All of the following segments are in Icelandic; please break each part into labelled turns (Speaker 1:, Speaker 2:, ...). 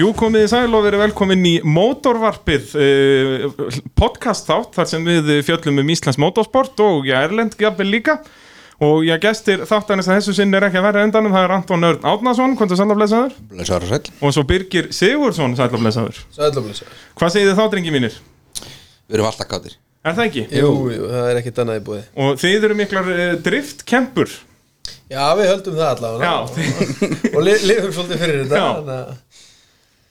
Speaker 1: Jú, komið í sæl og verið velkomin í Mótorvarpið eh, podcast þátt þar sem við fjöllum um Íslands motorsport og já, Erlend Gjabel líka og já, gestir þáttanins að þessu sinni er ekki að vera endanum, það er Anton Örn Átnason, hvort er sælaflesaður
Speaker 2: Blessaður og sæll
Speaker 1: og svo Birgir Sigursson sælaflesaður.
Speaker 3: Sæðlumlýsar
Speaker 1: Hvað segir þið þá, drengi mínir?
Speaker 2: Við erum alltaf kátir
Speaker 1: Er það ekki?
Speaker 3: jú, jú, það er ekkert annað í búði
Speaker 1: Og þið eru miklar uh, driftkempur
Speaker 3: Já, við höldum það allavega
Speaker 1: Já, þið,
Speaker 3: Og li lifum svolítið fyrir þetta
Speaker 1: Já.
Speaker 3: þannig að-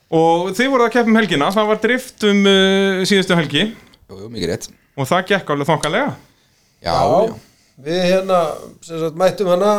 Speaker 1: og þið voruð að keppa um helgina, það var drift um uh, síðustu helgi
Speaker 2: Jú, jú, mikið rétt
Speaker 1: og það gekk alveg þokkalega
Speaker 2: Já,
Speaker 3: Já,
Speaker 2: já,
Speaker 3: við hérna sem sagt, mættum hana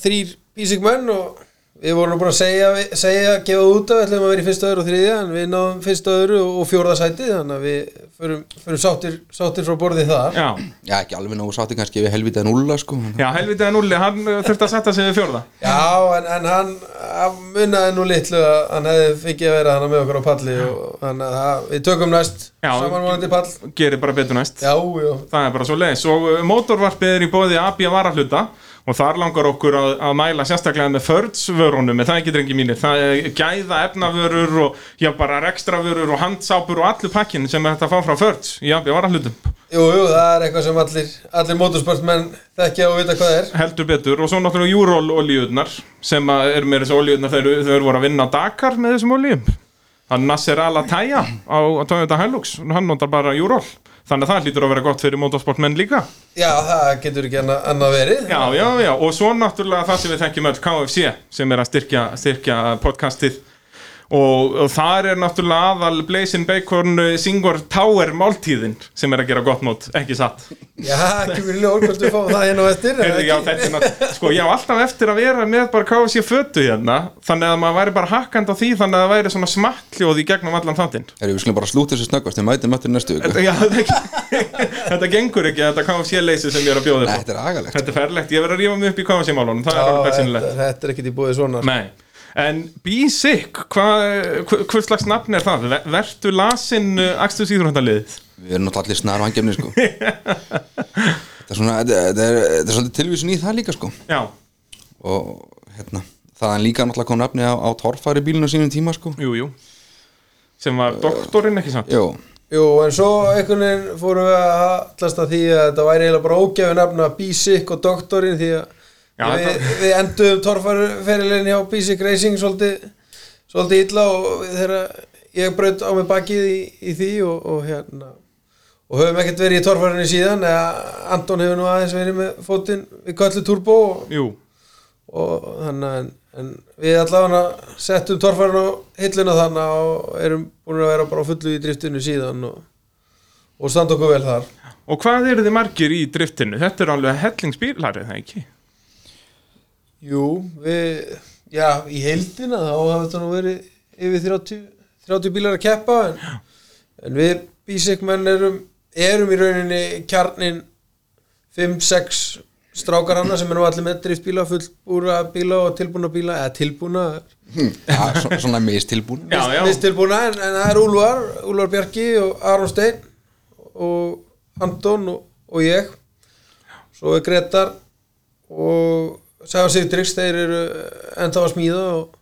Speaker 3: þrýr bísingmenn og við vorum nú búin að segja, segja gefa út að við ætlum að vera í fyrsta öðru og þriðja en við náðum fyrsta öðru og fjórða sæti þannig að við förum, förum sáttir, sáttir frá borði þar
Speaker 1: Já,
Speaker 2: já ekki alveg nógu sátti kannski við helvitaði núlla sko
Speaker 1: já helvitið að nulli, hann uh, þurfti að setja sig við fjórða
Speaker 3: Já, en, en hann, hann munnaði nú litlu að hann hefði fengið að vera hana með okkur á palli og þannig að það- við tökum næst
Speaker 1: Já.
Speaker 3: samanvonandi pall
Speaker 1: gerir bara betur næst
Speaker 3: Já, já,
Speaker 1: það er bara svo leiðis og uh, mótorvarpið er í bóði AB varahluta og þar langar okkur að, að mæla sérstaklega með fördsvörunum með það ekki drengi mínir, það er gæða efnavörur og já bara rekstravörur og handsápur og allur pakkin sem er hægt að fá frá förds í AB varahlutum
Speaker 3: Jú, jú, það er eitthvað sem allir, allir motorsportmenn þekkja og vita hvað er.
Speaker 1: heldur betur og svo náttúrulega júról olíunar sem að er með þessu olíunar þegar þau eru voru að vinna Dakar með þessum olíum hann Nasser Al Ataya á á Toyota Hilux, hann notar bara júról þannig að það hlýtur að vera gott fyrir motorsportmenn líka
Speaker 3: Já, það getur ekki annað, annað verið.
Speaker 1: já, já, já, og svo náttúrulega það sem við þenkjum öll KFC sem er að styrkja, styrkja podcastið og, og þar er náttúrulega aðal Blazing Bacon eh, Singor Tower máltíðin sem er að gera gott mót, ekki satt
Speaker 3: Já, kemur í ljón hvort við fáum það hérna á eftir. eða
Speaker 1: Heyrðu, já,
Speaker 3: ekki?
Speaker 1: þetta er náttúrulega, sko, ég á alltaf eftir að vera með bara KFC fötu hérna þannig að maður væri bara hakkand á því þannig að það væri svona smakkljóð í gegnum allan þáttinn
Speaker 2: Erum við skulum bara slúta þessu snöggvast við mætum öttur næstu viku
Speaker 1: Þetta- já, þetta ekki- þetta gengur ekki, þetta KFC leysi sem ég er að bjóða
Speaker 2: Nei,
Speaker 1: þér
Speaker 2: þetta er agalegt
Speaker 1: Þetta er ferlegt, ég verið að rífa mig upp í KFC málunum, það er
Speaker 3: Já,
Speaker 1: alveg
Speaker 3: þetta,
Speaker 1: persínulegt
Speaker 3: þetta er ekkert í búið svona.
Speaker 1: Nei, en Be Sick, hvað hver- hvers slags nafn er það? Ver- Vertu lasin uh, Axtur Sýðurhundaliðið?
Speaker 2: Við erum náttúrulega allir snar á hangjafni sko Þetta er svona, þetta er, þetta er, þetta er svolítið tilvísun í það líka sko
Speaker 1: Já,
Speaker 2: Og hérna, þaðan líka náttúrulega kom nafni á, á torfari bílinu sínum tíma sko
Speaker 1: jú, jú sem var doktorinn ekki samt
Speaker 2: Jú,
Speaker 3: Jú, en svo einhvern veginn fórum við að hallast að því að þetta væri eiginlega bara ógæfi nafna Bísik og Doktorinn því að
Speaker 1: Já,
Speaker 3: við,
Speaker 1: þetta-
Speaker 3: við endum torfarferilin hjá Bísik Racing svolítið, svolítið illa og þegar ég braut á mig bakið í, í því og, og hérna og höfum ekkert verið í torfarinu síðan eða Anton hefur nú aðeins verið með fótinn við köllu turbo og,
Speaker 1: Jú,
Speaker 3: og þannig en, en við allavega settum torfærin á hilluna þannig og erum búin að vera bara á fullu í driftinu síðan og, og standa okkur vel þar
Speaker 1: Og hvað eru þið margir í driftinu? Þetta eru alveg hellingsbílar, er það ekki?
Speaker 3: Jú, við já, í heildina þá hafði þetta nú verið yfir 30, 30 bílar að keppa en, en við bísik menn erum, erum í rauninni kjarnin 5-6 strákar hana sem er nú allir með driftbíla, fullbúra bíla og tilbúna bíla, eða tilbúna
Speaker 2: já, svo- svona mistilbúin
Speaker 1: Já, já,
Speaker 3: mistilbúna en, en það er Úlvar, Úlvar Bjarki og Aron Stein og Anton og, og ég svo er Gretar og Sæfa Sigdriks þeir eru ennþá að smíða og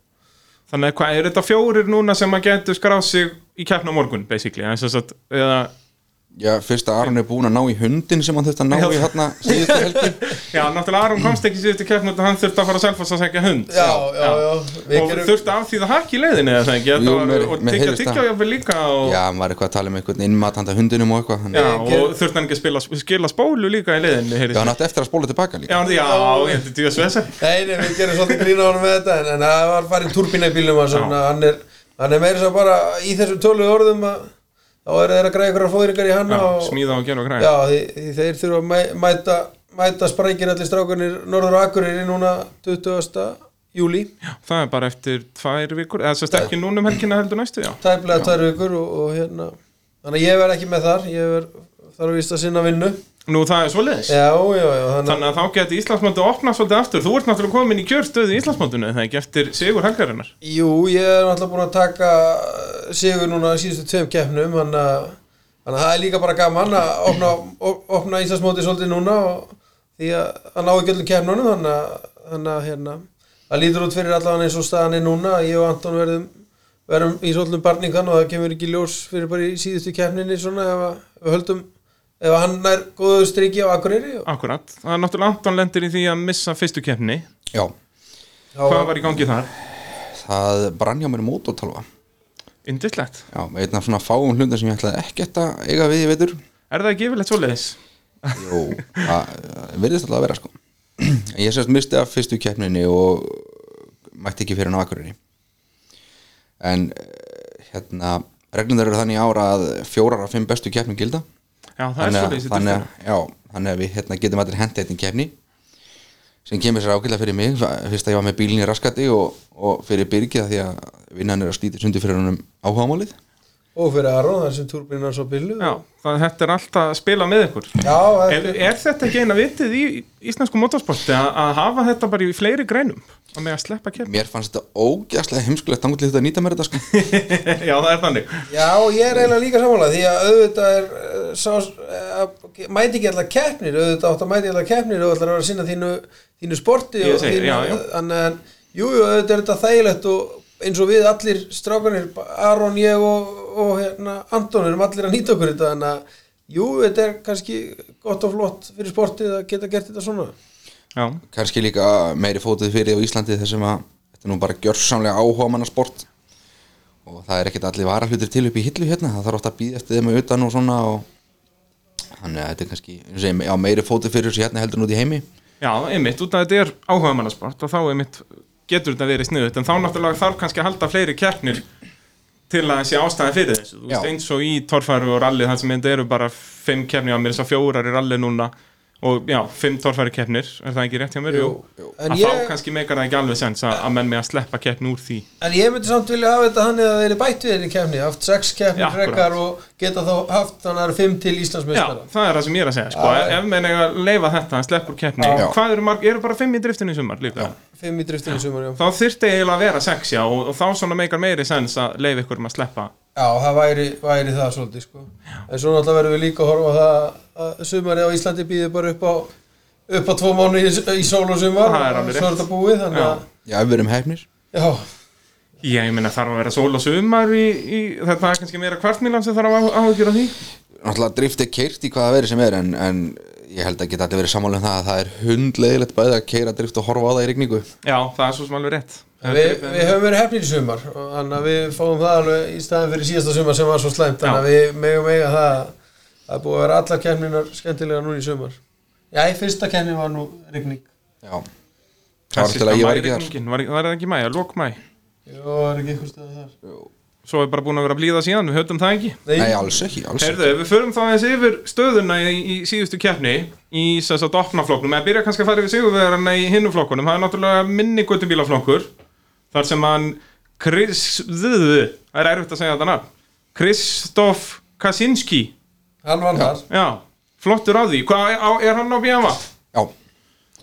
Speaker 1: þannig að hvað eru þetta fjórir núna sem að getur skráð sig í keppna á morgun, basically eða, sem sagt, eða,
Speaker 2: Já, fyrst að Aron er búin að ná í hundin sem hann þurfti að ná í hérna síðustu helgi
Speaker 1: Já, náttúrulega Aron komst ekki síðustu keppna og hann þurfti að fara að selfa að segja hund
Speaker 3: já, já, já, við
Speaker 1: Og
Speaker 3: gerum
Speaker 1: þurfti að afþýða hakk í leiðinni eða það ekki Þetta
Speaker 2: Jú,
Speaker 1: var-
Speaker 2: með-
Speaker 1: Og
Speaker 2: með
Speaker 1: tyggja
Speaker 2: heilista.
Speaker 1: tyggja jáfnvel líka og,
Speaker 2: Já, hann var eitthvað að tala um einhvern innmat handa hundinum og eitthvað þannig-
Speaker 1: já,
Speaker 3: Ég-
Speaker 1: og þurfti hann ekki að spila, skila spólu líka í leiðinni
Speaker 2: Já,
Speaker 1: heyrðist.
Speaker 2: hann átti eftir að spóla tilbaka líka
Speaker 1: Já, hann- já, ég hefði tíu að svesa
Speaker 3: Nei, nei, við gerum svolítið grína honum með þetta en, en það var farið turbína í bílum hans, þannig að hann er, hann er meira svo bara í þessum tölu orðum að þá eru þeir að græða ykkur að fóðringar í hann
Speaker 1: Já,
Speaker 3: og,
Speaker 1: Smíða og gera og græða
Speaker 3: Já, því, því þeir þurfa að mæ- mæta, mæta sprækir allir strákunir Norður og Akureyri núna 20. júli
Speaker 1: Það er bara eftir tvær vikur Eða sérst ekki núna um helgina heldur næstu, já
Speaker 3: tæplega tvær vikur og, og hérna þannig að ég verð ekki með þar ég verð þarf að vísta sinna vinnu
Speaker 1: Nú, það er svo leiðis
Speaker 3: Já, já, já, þannig
Speaker 1: Þannig að þá geti Íslandsmóti opnað svolítið aftur Þú ert náttúrulega komin í kjörstöðu í Íslandsmótinu eða ekki eftir Sigur Helgarinnar
Speaker 3: að Jú, ég er náttúrulega búin að taka uh, sigur núna í síðustu tveim keppnum þannig að þannig að það er líka bara gaman að opna, op- opna Íslandsmóti svolítið núna og því að það ná ekki öllum keppnunum þannig að, þannig að hérna, það lítur út fyrir allavega eins og staðan er núna að ég og Anton verðum verum í svolítum barningan og það kemur ekki í ljós fyrir bara í síðustu keppninni svona ef að- ef við höldum ef hann er góðu striki á Akureyri og
Speaker 1: Akkurat, það er náttúrulega Anton lendir í því að missa fyrstu keppni
Speaker 2: Já,
Speaker 1: Hvað var í gangi þar?
Speaker 2: það brann hjá mér mótortalva
Speaker 1: Indislegt
Speaker 2: Já, einn af svona fáum hlutum sem ég ætlaði ekkert að eiga við í veitur
Speaker 1: Er það ekki yfirleitt svoleiðis?
Speaker 2: Jú, það það virðist alltaf að vera sko Ég sérst misti af fyrstu keppninni og mætti ekki fyrir hann á Akureyri En eh, hérna, reglundar eru þannig í ára að fjórar af fimm bestu keppnum gilda
Speaker 1: Já, það er
Speaker 2: þannig,
Speaker 1: svoleiðis í
Speaker 2: þannig,
Speaker 1: Disney.
Speaker 2: að- já, þannig að við hérna, getum allir hendið einn keppni sem kemur sér ágætlega fyrir mig fa- fyrst að ég var með bílinn í raskati og, og fyrir Birgið því að vinnan er að slíti sundu fyrir honum áhugamálið
Speaker 3: og fyrir Aron þar sem túrbínan svo byllu
Speaker 1: Já, það, þetta er alltaf að spila með ykkur
Speaker 3: já
Speaker 1: Er,
Speaker 3: þetta,
Speaker 1: er þetta ekki eina vitið í íslensku motorsporti að, að hafa þetta bara í fleiri greinum og með að sleppa keppni?
Speaker 2: Mér fannst þetta ógæslega heimskulegt þannig til þetta að nýta mér þetta sko
Speaker 1: Já, það er þannig
Speaker 3: já ég er eiginlega líka sammála því að auðvitað er eh, sá, eh, mæti ekki alltaf keppnir auðvitað átt að mæti alltaf keppnir og ætlar að vera að sinna þínu, þínu sporti
Speaker 1: Ég
Speaker 3: og
Speaker 1: segi,
Speaker 3: þínu,
Speaker 1: já, já.
Speaker 3: En, en jú, jú, auðvitað er þetta þægilegt og eins og við allir strákanir Aron, ég og, og hérna, Anton erum allir að nýta okkur þetta en að jú, þetta er kannski gott og flott fyrir sportið að geta gert þetta svona
Speaker 1: Já,
Speaker 2: kannski líka meiri fótið fyrir á Íslandi þessum að þetta er nú bara gjörsamlega áhugamannasport og það er ekkert allir varahlutir til upp í hillu hérna það þarf ofta að býða eftir þeim að utan og svona og þannig að þetta er kannski eins og ég segi, á meiri fótið fyrir þessu hérna heldur en út í heimi
Speaker 1: já, einmitt, út af þetta er áhugamannasport og þá einmitt getur þetta verið sniðut en þá náttúrulega þarf kannski að halda fleiri keppnir til að sé ástæði fyrir þessu Þú veist,
Speaker 2: Já.
Speaker 1: eins og í torfæru og rally þar sem þetta eru bara fimm keppni á mér svo fjórar í rally núna og já, fimm torfæru keppnir er það ekki rétt hjá mér?
Speaker 3: En
Speaker 1: Að
Speaker 3: ég-
Speaker 1: þá kannski meikar það ekki alveg sens að, að menn með að sleppa keppni úr því
Speaker 3: En ég myndi samt vilja hafa þetta þannig að það er bætt við þeirri kefni, haft sex kefni
Speaker 1: Já, akkurat.
Speaker 3: frekar og geta þá haft þannig að það eru fimm til
Speaker 1: Já,
Speaker 3: Íslandsmeistara.
Speaker 1: það er það sem ég er að segja sko.
Speaker 3: Já, já.
Speaker 1: Ef menn eiga að leifa þetta, hann sleppur keppni
Speaker 2: Já.
Speaker 1: Hvað eru marg, eru bara fimm í driftinu í sumar líka
Speaker 3: Fimm í driftinu í sumar, já.
Speaker 1: Þá þyrfti eiginlega að vera sex, já Og, og þá svona meikar meiri sens að leifa ykkur um að sleppa
Speaker 3: Já, það væri, væri það svolítið, sko. En svo náttúrulega verðum við líka að horfa á það að sumari á Íslandi býði bara upp á, upp á tvo mánu í, í sól og sumar.
Speaker 1: Það er alveg
Speaker 3: Svo
Speaker 1: rétt.
Speaker 3: er þetta búið, þannig
Speaker 1: Já.
Speaker 3: að,
Speaker 2: já, ef við erum hefnir
Speaker 3: já,
Speaker 1: Já, ég meina þarf að vera sól og sumar í, í, Þetta er kannski meira kvartmílan sem þarf að áhugjur á því
Speaker 2: náttúrulega drift er keirt í hvaða veri sem er en, en ég held að geta allir verið sammála um það að það er hundlegilegt bæði að keira drift og horfa á það í rigningu
Speaker 1: Já, það er svo sem alveg rétt
Speaker 3: við, við höfum verið hefnir í sumar. og Þannig að við fáum það alveg í staðin fyrir síðasta sumar sem var svo slæmt. Þannig að við megum eiga það að það er búið að vera allar kefninar skemmtilega núna í sumar. Já, í fyrsta kefni var nú rigning.
Speaker 2: já, það var alltaf að ég var ekki þar
Speaker 1: var, var það ekki mæ, lók mæ
Speaker 3: Jó, er ekki einhvers stöðu þar
Speaker 1: Svo er bara búin að vera að blíða síðan, við höfum það ekki
Speaker 2: nei, alls ekki, alls ekki
Speaker 1: Herðu, ef við förum þá aðeins yfir stöðuna í, í síðustu keppni í þess að opna flokknum, eða byrja kannski að fara yfir sigurverðarna í hinnum flokkunum, það er náttúrulega minni göttubílaflokkur, þar sem hann Chris, það er erfitt að segja þetta nafn, Kristoff Kaczynski,
Speaker 3: Hann var þar
Speaker 1: já, flottur á því, hvað á, er hann á BMA?
Speaker 2: já,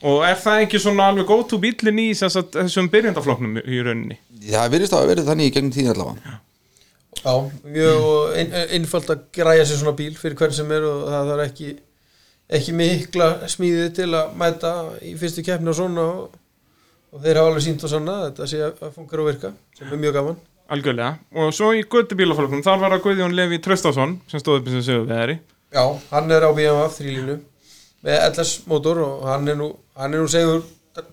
Speaker 1: Og er það ekki svona alveg go to bílinn í þess að, þessum byrjandaflokknum í rauninni?
Speaker 2: það virðist að hafa verið þannig í gegnum tíðin allavega
Speaker 3: Já, mjög ein, einfalt að græja sér svona bíl fyrir hvern sem er og það þarf ekki ekki mikla smíðið til að mæta í fyrstu keppni og svona og, og þeir hafa alveg sínt og sanna að þetta sé að að funkar og virka sem er mjög gaman
Speaker 1: Algjörlega, og svo í göttubílaflokknum, þar var það Guðjón Levi Tröstásson sem stóð upp sem sigurverðari,
Speaker 3: Já, hann er á BMW þrýlínu með LS mótor og hann er nú hann er nú segur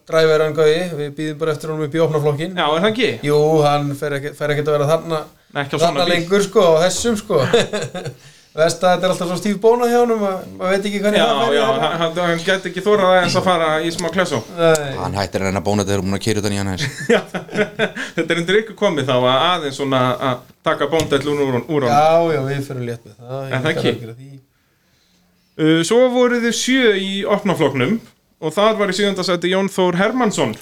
Speaker 3: dræverðan gauði við býðum bara eftir honum upp í opnaflokkin
Speaker 1: já, er það ekki?
Speaker 3: Jú, hann fer ekki, fer ekki að vera þarna
Speaker 1: Nei, ekki á
Speaker 3: þarna
Speaker 1: svona bíl.
Speaker 3: lengur sko og þessum sko Vest að þetta er alltaf svo stíf bóna hjá honum að maður veit ekki hvernig
Speaker 1: Mm. Já,
Speaker 3: fer í
Speaker 1: já,
Speaker 3: þetta.
Speaker 1: hann, hann- hann gæti ekki þórað aðeins að fara í smá klessu
Speaker 3: Nei,
Speaker 2: hann hættir að reyna að bóna þetta þegar hún er búin að keira utan í hann aðeins
Speaker 1: Þetta er undir ykkur komið þá að aðeins svona að taka bóndell úr úr- úr hann
Speaker 3: Já, já, við fyrir létt með það
Speaker 1: En það
Speaker 3: ég
Speaker 1: ekki.
Speaker 3: kann gera því.
Speaker 1: uh, Svo voru þið sjö í opnafloknum og þar var í sjöndasæti Jón Þór Hermansson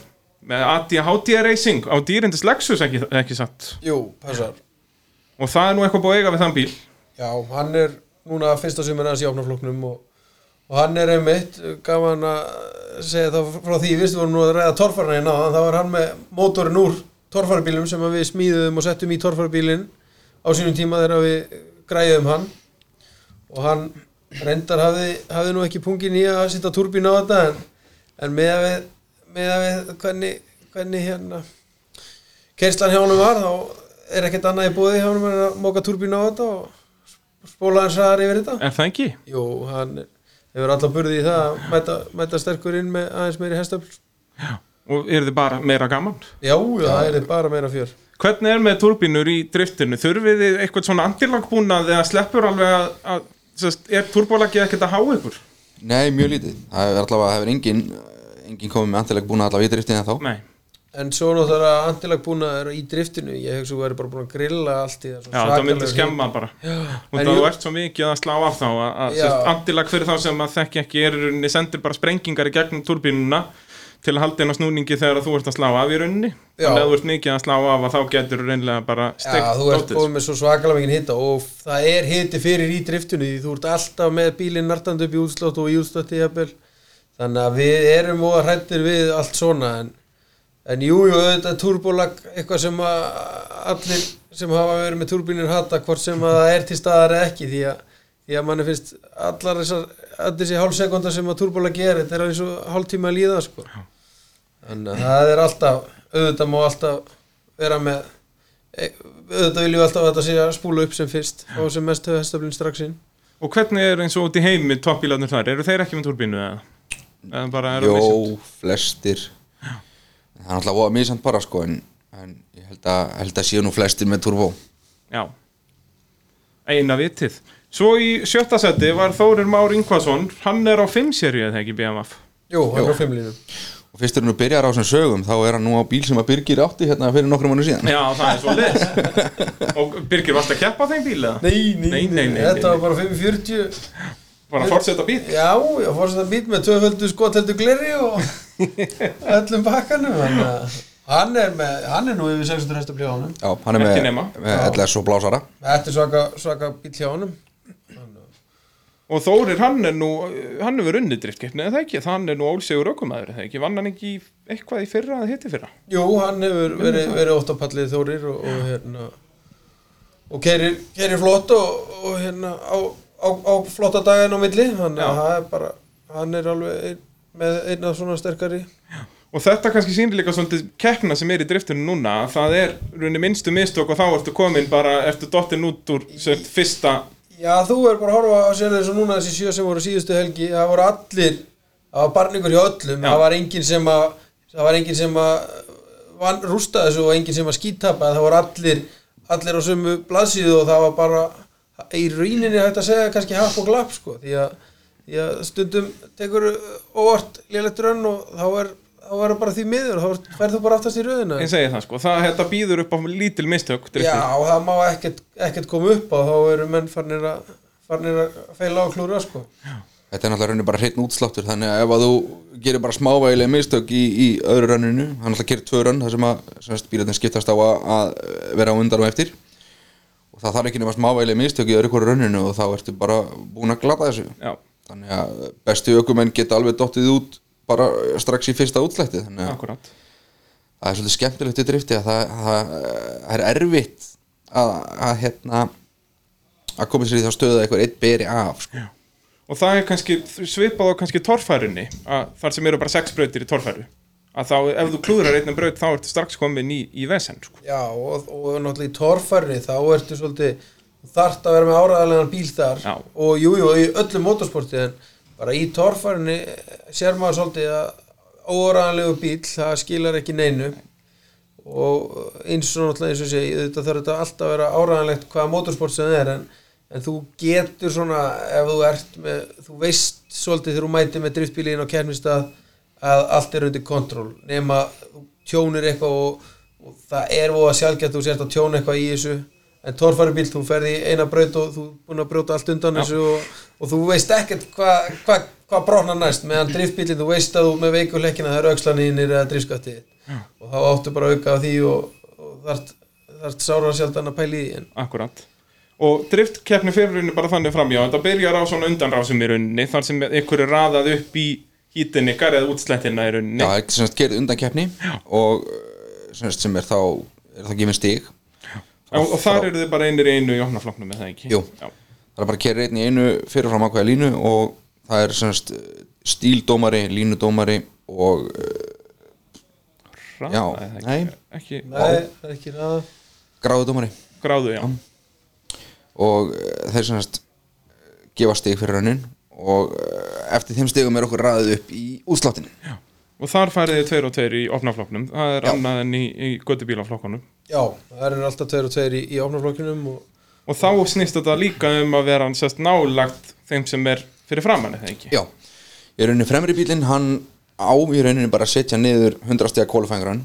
Speaker 1: með ADHD Racing á dýrindis Lexus ekki, ekki satt
Speaker 3: Jú, passar
Speaker 1: og það er nú eitthvað búið að eiga við þann bíl
Speaker 3: Já, hann er núna fyrsta sumar hans í opnafloknum og, og hann er einmitt gaman að segja þá frá því við vorum nú að ræða torfarna hérna áðan, þá var hann með mótorin úr torfarbílum sem að við smíðum og settum í torfarbílin á sínum tíma þegar við græðum hann og hann reyndar hafði, hafði nú ekki pungin í að setja turbín á þetta en, en með að við, með að við hvernig, hvernig hérna kerslan hjá honum var þá er ekkert annað í bóði hjá hann en að móka turbínu á þetta og spóla hans aðar yfir þetta
Speaker 1: Er það ekki?
Speaker 3: Jú, hann hefur alltaf burði í það að mæta, mæta sterkur inn með aðeins meiri hestöfl
Speaker 1: Og eru þið bara meira gaman?
Speaker 3: Já, það er bara meira fjör
Speaker 1: Hvernig er með turbínur í driftinu? Þurfið þið eitthvað svona andilagbúnað eða sleppur alveg að, að sest, er turbolagið ekkert að háa ykkur?
Speaker 2: Nei, mjög lítið Það er allavega, það hefur engin engin komið með antileg búin að allavega í driftin en þá
Speaker 1: Nei,
Speaker 3: En svo náttúrulega antilag búnaður í driftinu, ég hugsa að þú verður bara búin að grilla allt í það.
Speaker 1: já það myndi skemma bara og
Speaker 3: en
Speaker 1: það
Speaker 3: jú-
Speaker 1: ert svo mikið að slá af þá að, að
Speaker 3: Já.
Speaker 1: sest, andilag fyrir þá sem að þekki ekki er í rauninni sendir bara sprengingar í gegnum turbínuna til að halda inn á snúningi þegar að þú ert að slá af í rauninni
Speaker 3: Já.
Speaker 1: þannig að þú ert mikið að slá af að þá getur reynilega bara
Speaker 3: Já,
Speaker 1: steikt
Speaker 3: þú ert
Speaker 1: dótið. sko.
Speaker 3: búin með svo svakalega mikið hitta og það er hiti fyrir í driftinu því þú ert alltaf með bílinn nartandi upp í útslátt og í útslátti jafnvel. Þannig að við erum og hrættir við allt svona en, en jú, jú, auðvitað turbolag eitthvað sem að allir sem hafa verið með turbínir hata hvort sem að það er til staðar eða ekki því að, því að manni finnst allar þessar, allir þessi hálfsekunda sem að turbolag gerir, þetta er eins og hálftíma að líða sko. Þannig að það er alltaf, auðvitað má alltaf vera með, e- auðvitað viljum við alltaf að þetta sé að spúla upp sem fyrst og sem mest höfðu hestaflinn strax inn.
Speaker 1: Og hvernig er eins og út í heimi toppbílarnir þar? Eru þeir ekki með turbínu eða? Eða bara er það misjönt?
Speaker 2: Jó, flestir Það er allavega voða misjant bara sko en, en ég held að, held að séu nú flestir með turbo
Speaker 1: Já Eina vitið Svo í sjötta seti var Þórir Már Ingvason Hann er á 5 serið eða ekki BMF
Speaker 3: Jú,
Speaker 2: Jú.
Speaker 3: hann er á fimmlínum.
Speaker 2: og fyrst er nú byrjar á þessum sögum þá er hann nú á bíl sem að Birgir átti hérna fyrir nokkrum mánu síðan
Speaker 1: Já, það er svo leis Og Birgir, varst að keppa á þeim bíl eða?
Speaker 3: Nei, nei,
Speaker 1: Nei, nei, nei,
Speaker 3: þetta
Speaker 1: nei.
Speaker 3: var bara 540.
Speaker 1: Bara að fortsetta bíl
Speaker 3: Já, já, fórst það bít með tvöföldu skoteldu gleri og öllum bakkanum. Hann, hann er með, hann er nú yfir 600 hestaflinn á honum.
Speaker 2: Já, hann er
Speaker 1: Ekki
Speaker 2: með,
Speaker 1: nema.
Speaker 2: með LS og blásara
Speaker 3: Þetta er svaka, svaka bíl hjá honum.
Speaker 1: Og Þórir, hann er nú Hann hefur unnið driftkeppni eða það ekki Hann er nú ólsegur ökumæður eða ekki Vann hann ekki í- eitthvað í fyrra eða hitti fyrra?
Speaker 3: Jú, hann hefur verið, verið óttapallið þórir og, og hérna og kerir, kerir flott og, og hérna á, á, á flotta daginn á milli þannig að
Speaker 1: Já.
Speaker 3: það er bara hann er alveg ein, með eina svona sterkari
Speaker 1: Og þetta kannski sýnir líka svolítið keppna sem er í driftinu núna að það er runni minnstu mistök og þá ertu komin bara ertu dottinn út úr sem sagt, fyrsta
Speaker 3: Já, þú er bara að horfa að sér þessu núna þessi sjö sem voru síðustu helgi það voru allir, það var barningur hjá öllum
Speaker 1: Já.
Speaker 3: það var enginn sem að það var enginn sem að van, rústa þessu og enginn sem að skítapa það voru allir, allir á sömu blaðsíðu og það var bara í rýninni hægt að segja kannski happ og glapp sko, því að, því að stundum tekur óvart lélegt rönn og þá er, þá er bara því miður þá færðu bara aftast í röðina
Speaker 1: eins segi það sko, það þetta býður upp á lítil mistök driftinu.
Speaker 3: Já, það má ekkert, ekkert koma upp á þá eru menn farnir að farnir að feila og klúra sko
Speaker 2: Þetta er náttúrulega raunin bara hreitn útsláttur þannig að ef að þú gerir bara smávægilega mistök í, í öðru ranninu, hann náttúrulega gerir tvö rann þar sem að semast, bílarnir skiptast á að, að vera á undan og eftir og það þarf ekki nema smávægilega mistök í öðru hverju ranninu og þá ertu bara búin að glata þessu
Speaker 1: Já.
Speaker 2: þannig að bestu ökumenn geta alveg dottið út bara strax í fyrsta útslætti þannig að
Speaker 1: akkurat
Speaker 2: það er svolítið skemmtilegt í drifti að það, það, það er erfitt að, að hérna að koma sér í þá stöðu að eitthvað eitt beri af sko.
Speaker 1: Og það er kannski svipað á kannski torfærunni að þar sem eru bara sex brautir í torfæru að þá ef þú klúðrar einna braut þá ertu strax komin í, í vesen sko.
Speaker 3: Já, og, og náttúrulega í torfæri þá ertu svolítið þart að vera með áraðalegan bíl þar
Speaker 1: Já.
Speaker 3: og jújú, jú, í öllu motorsporti en bara í torfærinni sér maður svolítið að óraðanlegu bíl, það skilar ekki neinu og eins og náttúrulega eins og sé, þetta þarf þetta alltaf að vera áraðanlegt hvaða motorsport sem það er en, en þú getur svona ef þú ert með, þú veist svolítið þegar þú mætir með driftbílinn á kernistað að allt er undir kontról nema þú tjónir eitthvað og, og það er voða sjálfgætt að þú sért að tjóna eitthvað í þessu en torfæribíl, þú ferði í eina braut og þú er búin að brjóta allt undan þessu og, og þú veist ekkert hvað hva, hva brotnar næst meðan driftbílinn, þú veist að þú með veikulekkina það eru aukslanínir eða driftskattið og þá áttu bara að auka á því og, og þart, þart sára sjaldan að pæli því en
Speaker 1: Akkurat Og driftkeppni fyrir rauninni bara þannig framjá Þetta byrjar á svona undanrásum í rauninni þar sem ykkur er raðað upp í hítin ykkar eða útslettina í rauninni
Speaker 2: Já, ekki sem sagt gerði undan keppni og eh, sem, sagt, sem er þá er það gefin stig
Speaker 1: og, og þar eru þið bara einir í einu í opnafloknum er það ekki?
Speaker 2: Jú.
Speaker 1: Já.
Speaker 2: það er bara að kerra einn í einu fyrirfram ákveða línu og það er sem sagt stíldómari, línudómari og eh,
Speaker 1: Raða
Speaker 2: Já,
Speaker 1: er það
Speaker 2: nei.
Speaker 1: ekki, ekki.
Speaker 3: nei, það er ekki ræða
Speaker 2: gráðudómari
Speaker 1: gráðu, já
Speaker 2: og eh, þeir sem sagt eh, gefa stig fyrir raunin og eh, eftir þeim stigum er okkur raðið upp í útsláttinu
Speaker 1: og þar færið þið tveir og tveir í opnaflokknum það er
Speaker 2: Já.
Speaker 1: annað en í, í göttubílaflokkunum
Speaker 3: Já, það eru alltaf tveir og tveir í, í ofnaflokkinum og
Speaker 1: og þá snýst þetta líka um að vera sérst nálagt þeim sem er fyrir framann eða ekki
Speaker 2: Já, í rauninni fremri bílinn hann á í rauninni bara að setja niður 100 stiga kólfængrun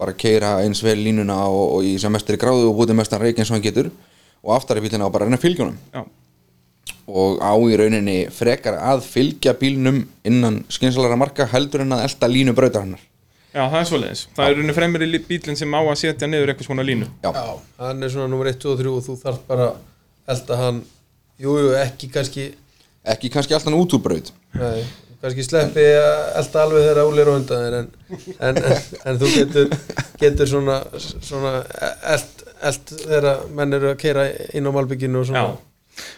Speaker 2: bara keira eins vel línuna og, og í sem mestri gráðu og búti mestan reik eins og hann getur og aftari bílinn á bara að reyna fylgjónum
Speaker 1: Já.
Speaker 2: og á í rauninni frekar að fylgja bílnum innan skynsalara marka heldur en að elta línu brautar hennar
Speaker 1: Já, það er svoleiðis. Það er runni fremri lí- bíllinn sem á að setja niður eitthvað svona línu.
Speaker 2: Já,
Speaker 3: já, hann er svona nummer 1, 2 og 3 og þú þarf bara held að hann, jú, jú, ekki kannski,
Speaker 2: ekki kannski alltaf út úr braut
Speaker 3: nei, kannski sleppi held alveg þegar Óli er á undan þér en, en, en, en þú getur, getur svona, svona held, held þegar menn eru að keira inn á malbygginu og svona.
Speaker 1: Já.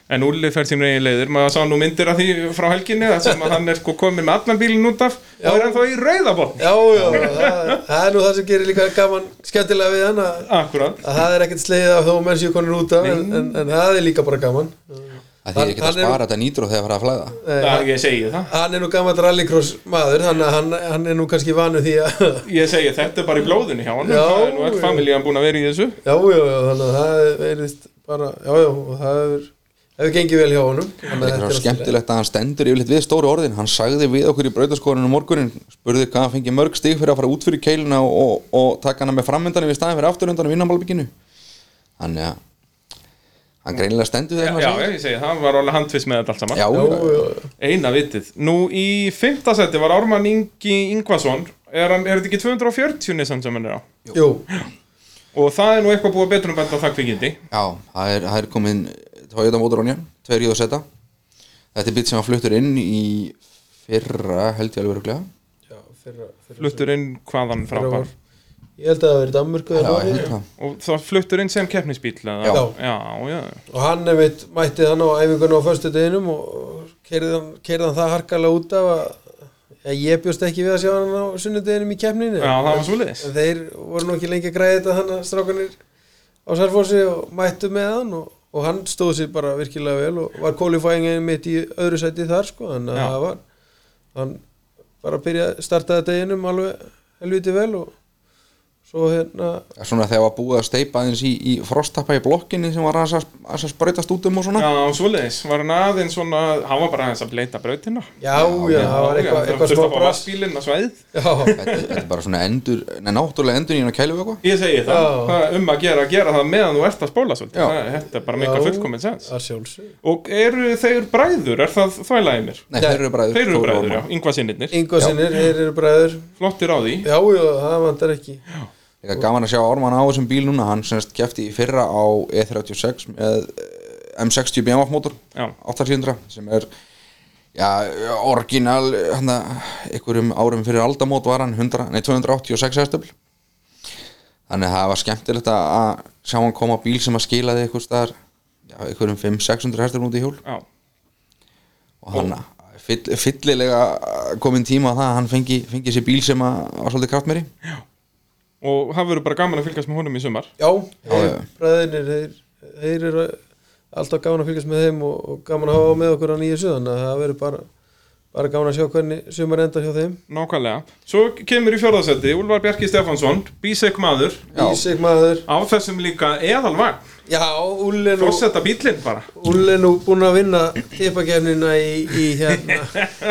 Speaker 1: En Ulli fer sín eigin leiðir, maður sá nú myndir af því frá helginni, þar sem að hann er sko komin með allan bílinn út af
Speaker 3: Já.
Speaker 1: og er ennþá í rauðabotn.
Speaker 3: Já, já, það, það er nú það sem gerir líka gaman skemmtilega við hann að,
Speaker 1: Akkurat.
Speaker 3: að það er ekkert slegið af þó menn séu konur út af en, en, en það er líka bara gaman
Speaker 2: að þið er ekki að
Speaker 3: Hann- hann er-
Speaker 2: spara þetta nýtrú þegar fara að flæða
Speaker 1: Það
Speaker 3: Nei,
Speaker 1: er ég segi það.
Speaker 3: hann er nú gaman rallycross maður þannig að hann, hann er nú kannski vanu því að já,
Speaker 1: Ég segi þetta er bara í blóðinu hjá hann.
Speaker 3: Já.
Speaker 1: það er nú all familjan búin að vera í þessu.
Speaker 3: já, já, þannig að það verðist bara, já, já, og það hefur hefur gengið vel hjá honum
Speaker 2: Það er eitthvað skemmtilegt að hann stendur yfirleitt við stóru orðin hann sagði við okkur í brautaskórinu morgunin spurði hvað hann fengi mörg stig fyrir að fara út fyrir keiluna og, og, og taka hana með framöndanum í staðin fyrir afturöndanum innan malbygginu þannig að hann greinilega stendur
Speaker 1: Já,
Speaker 2: þegar
Speaker 1: já,
Speaker 2: hann sagði
Speaker 1: ég segi það, hann var alveg handviss með þetta allt saman.
Speaker 2: já,
Speaker 3: já,
Speaker 2: já,
Speaker 3: já,
Speaker 1: Eina vitið. Nú í fymta seti var Ármann Ingi Ingvason, er, hann, er þetta ekki 240 nissan sem hann er á?
Speaker 3: já, jú,
Speaker 1: Og það er nú eitthvað búið betur um benda það kvikindi.
Speaker 2: já það, er, það er komin Toyota Motoronja, tveir jóðu seta þetta er bit sem hann fluttur inn í fyrra held ég alveg örugglega.
Speaker 3: já fyrra, fyrra,
Speaker 1: Fluttur inn hvaðan frá
Speaker 3: fyrra
Speaker 1: bara.
Speaker 3: var, ég held að það hafi verið Danmörku
Speaker 2: Já, hérna.
Speaker 3: eða
Speaker 2: ég
Speaker 3: Noregi.
Speaker 2: held það.
Speaker 1: Og það fluttur inn sem keppnisbíl eða?
Speaker 2: Já.
Speaker 1: Já, já,
Speaker 3: og hann einmitt mætti hann á æfingunum á föstu deginum og keirði hann, keyrði hann það harkalega út af að að ég bjóst ekki við að sjá hann á sunnudeginum í keppninu
Speaker 1: já, það var svoleiðis.
Speaker 3: en þeir voru nú ekki lengi að græða þetta þannig að strákanir á Sarfósi og mættu með hann og, og hann stóð sér bara virkilega vel og var kólifæðingin mitt í öðru sæti þar sko þannig
Speaker 1: Já.
Speaker 3: að það var hann bara byrjaði startaði deginum alveg helviti vel og svo hérna
Speaker 2: svona þegar var búið að steipa aðeins í, í frostappa í blokkinni sem var aðeins að, aðeins að sprautast út um og svona
Speaker 1: Já, svoleiðis. Var hann aðeins svona, hann var bara aðeins að bleita brautina.
Speaker 3: já, já, það var eitthvað, eitthvað smá brast
Speaker 1: Bílinn að svæðið.
Speaker 3: já,
Speaker 2: þetta, þetta er bara svona endur nei, náttúrulega endur í hann að kælu eitthvað
Speaker 1: Ég segi það,
Speaker 3: Já.
Speaker 1: það er um að gera að gera það meðan þú ert að spóla svolítið.
Speaker 2: Já.
Speaker 1: Það, þetta er bara mikla
Speaker 3: Já.
Speaker 1: fullkominn sens.
Speaker 3: að sjálfsög
Speaker 1: Og eru þeir bræður, er það þvælaðið mér?
Speaker 2: nei, þeir eru bræður
Speaker 1: Þeir eru
Speaker 2: Þór og
Speaker 1: bræður, já,
Speaker 2: Ormar.
Speaker 1: yngvað sinnirnir.
Speaker 3: Ingo sinir, þeir eru bræður
Speaker 1: Flottir á því.
Speaker 3: Já, já, það vantar ekki
Speaker 2: Líka gaman að sjá Orman á þessum bíl núna hann semst kefti í fyrra á E E36 með eh, M60 BMF mótor
Speaker 1: Já.
Speaker 2: 800 sem er já, orginal hana, einhverjum árum fyrir aldamót var hann 100, nei, 286 hestöfl þannig að það var skemmtilegt að- að sjá hann koma á bíl sem að skilaði einhvers staðar já, einhverjum 500-600 hestöfl út í hjól
Speaker 1: Já.
Speaker 2: og hann fyll, fyllilega komin tíma á það að hann fengi, fengi sér bíl sem að var svolítið kraftmeri
Speaker 1: Og það verður bara gaman að fylgjast með honum í sumar.
Speaker 3: Já, þeir,
Speaker 2: já.
Speaker 3: bræðinir, þeir, þeir eru alltaf gaman að fylgjast með þeim og, og gaman að hafa með okkur á nýju suðan að það verður bara, bara gaman að sjá hvernig sumar endar hjá þeim
Speaker 1: Nákvæmlega. Svo kemur í fjörðarsæti Úlvar Bjarki Stefánsson, bísek maður,
Speaker 2: Já.
Speaker 3: Ísik maður
Speaker 1: á þessum líka eðalvagn.
Speaker 3: Já, Úlli er nú,
Speaker 1: Forsetta bílinn bara.
Speaker 3: Úlli er nú búin að vinna tippakefnina í, í, hérna,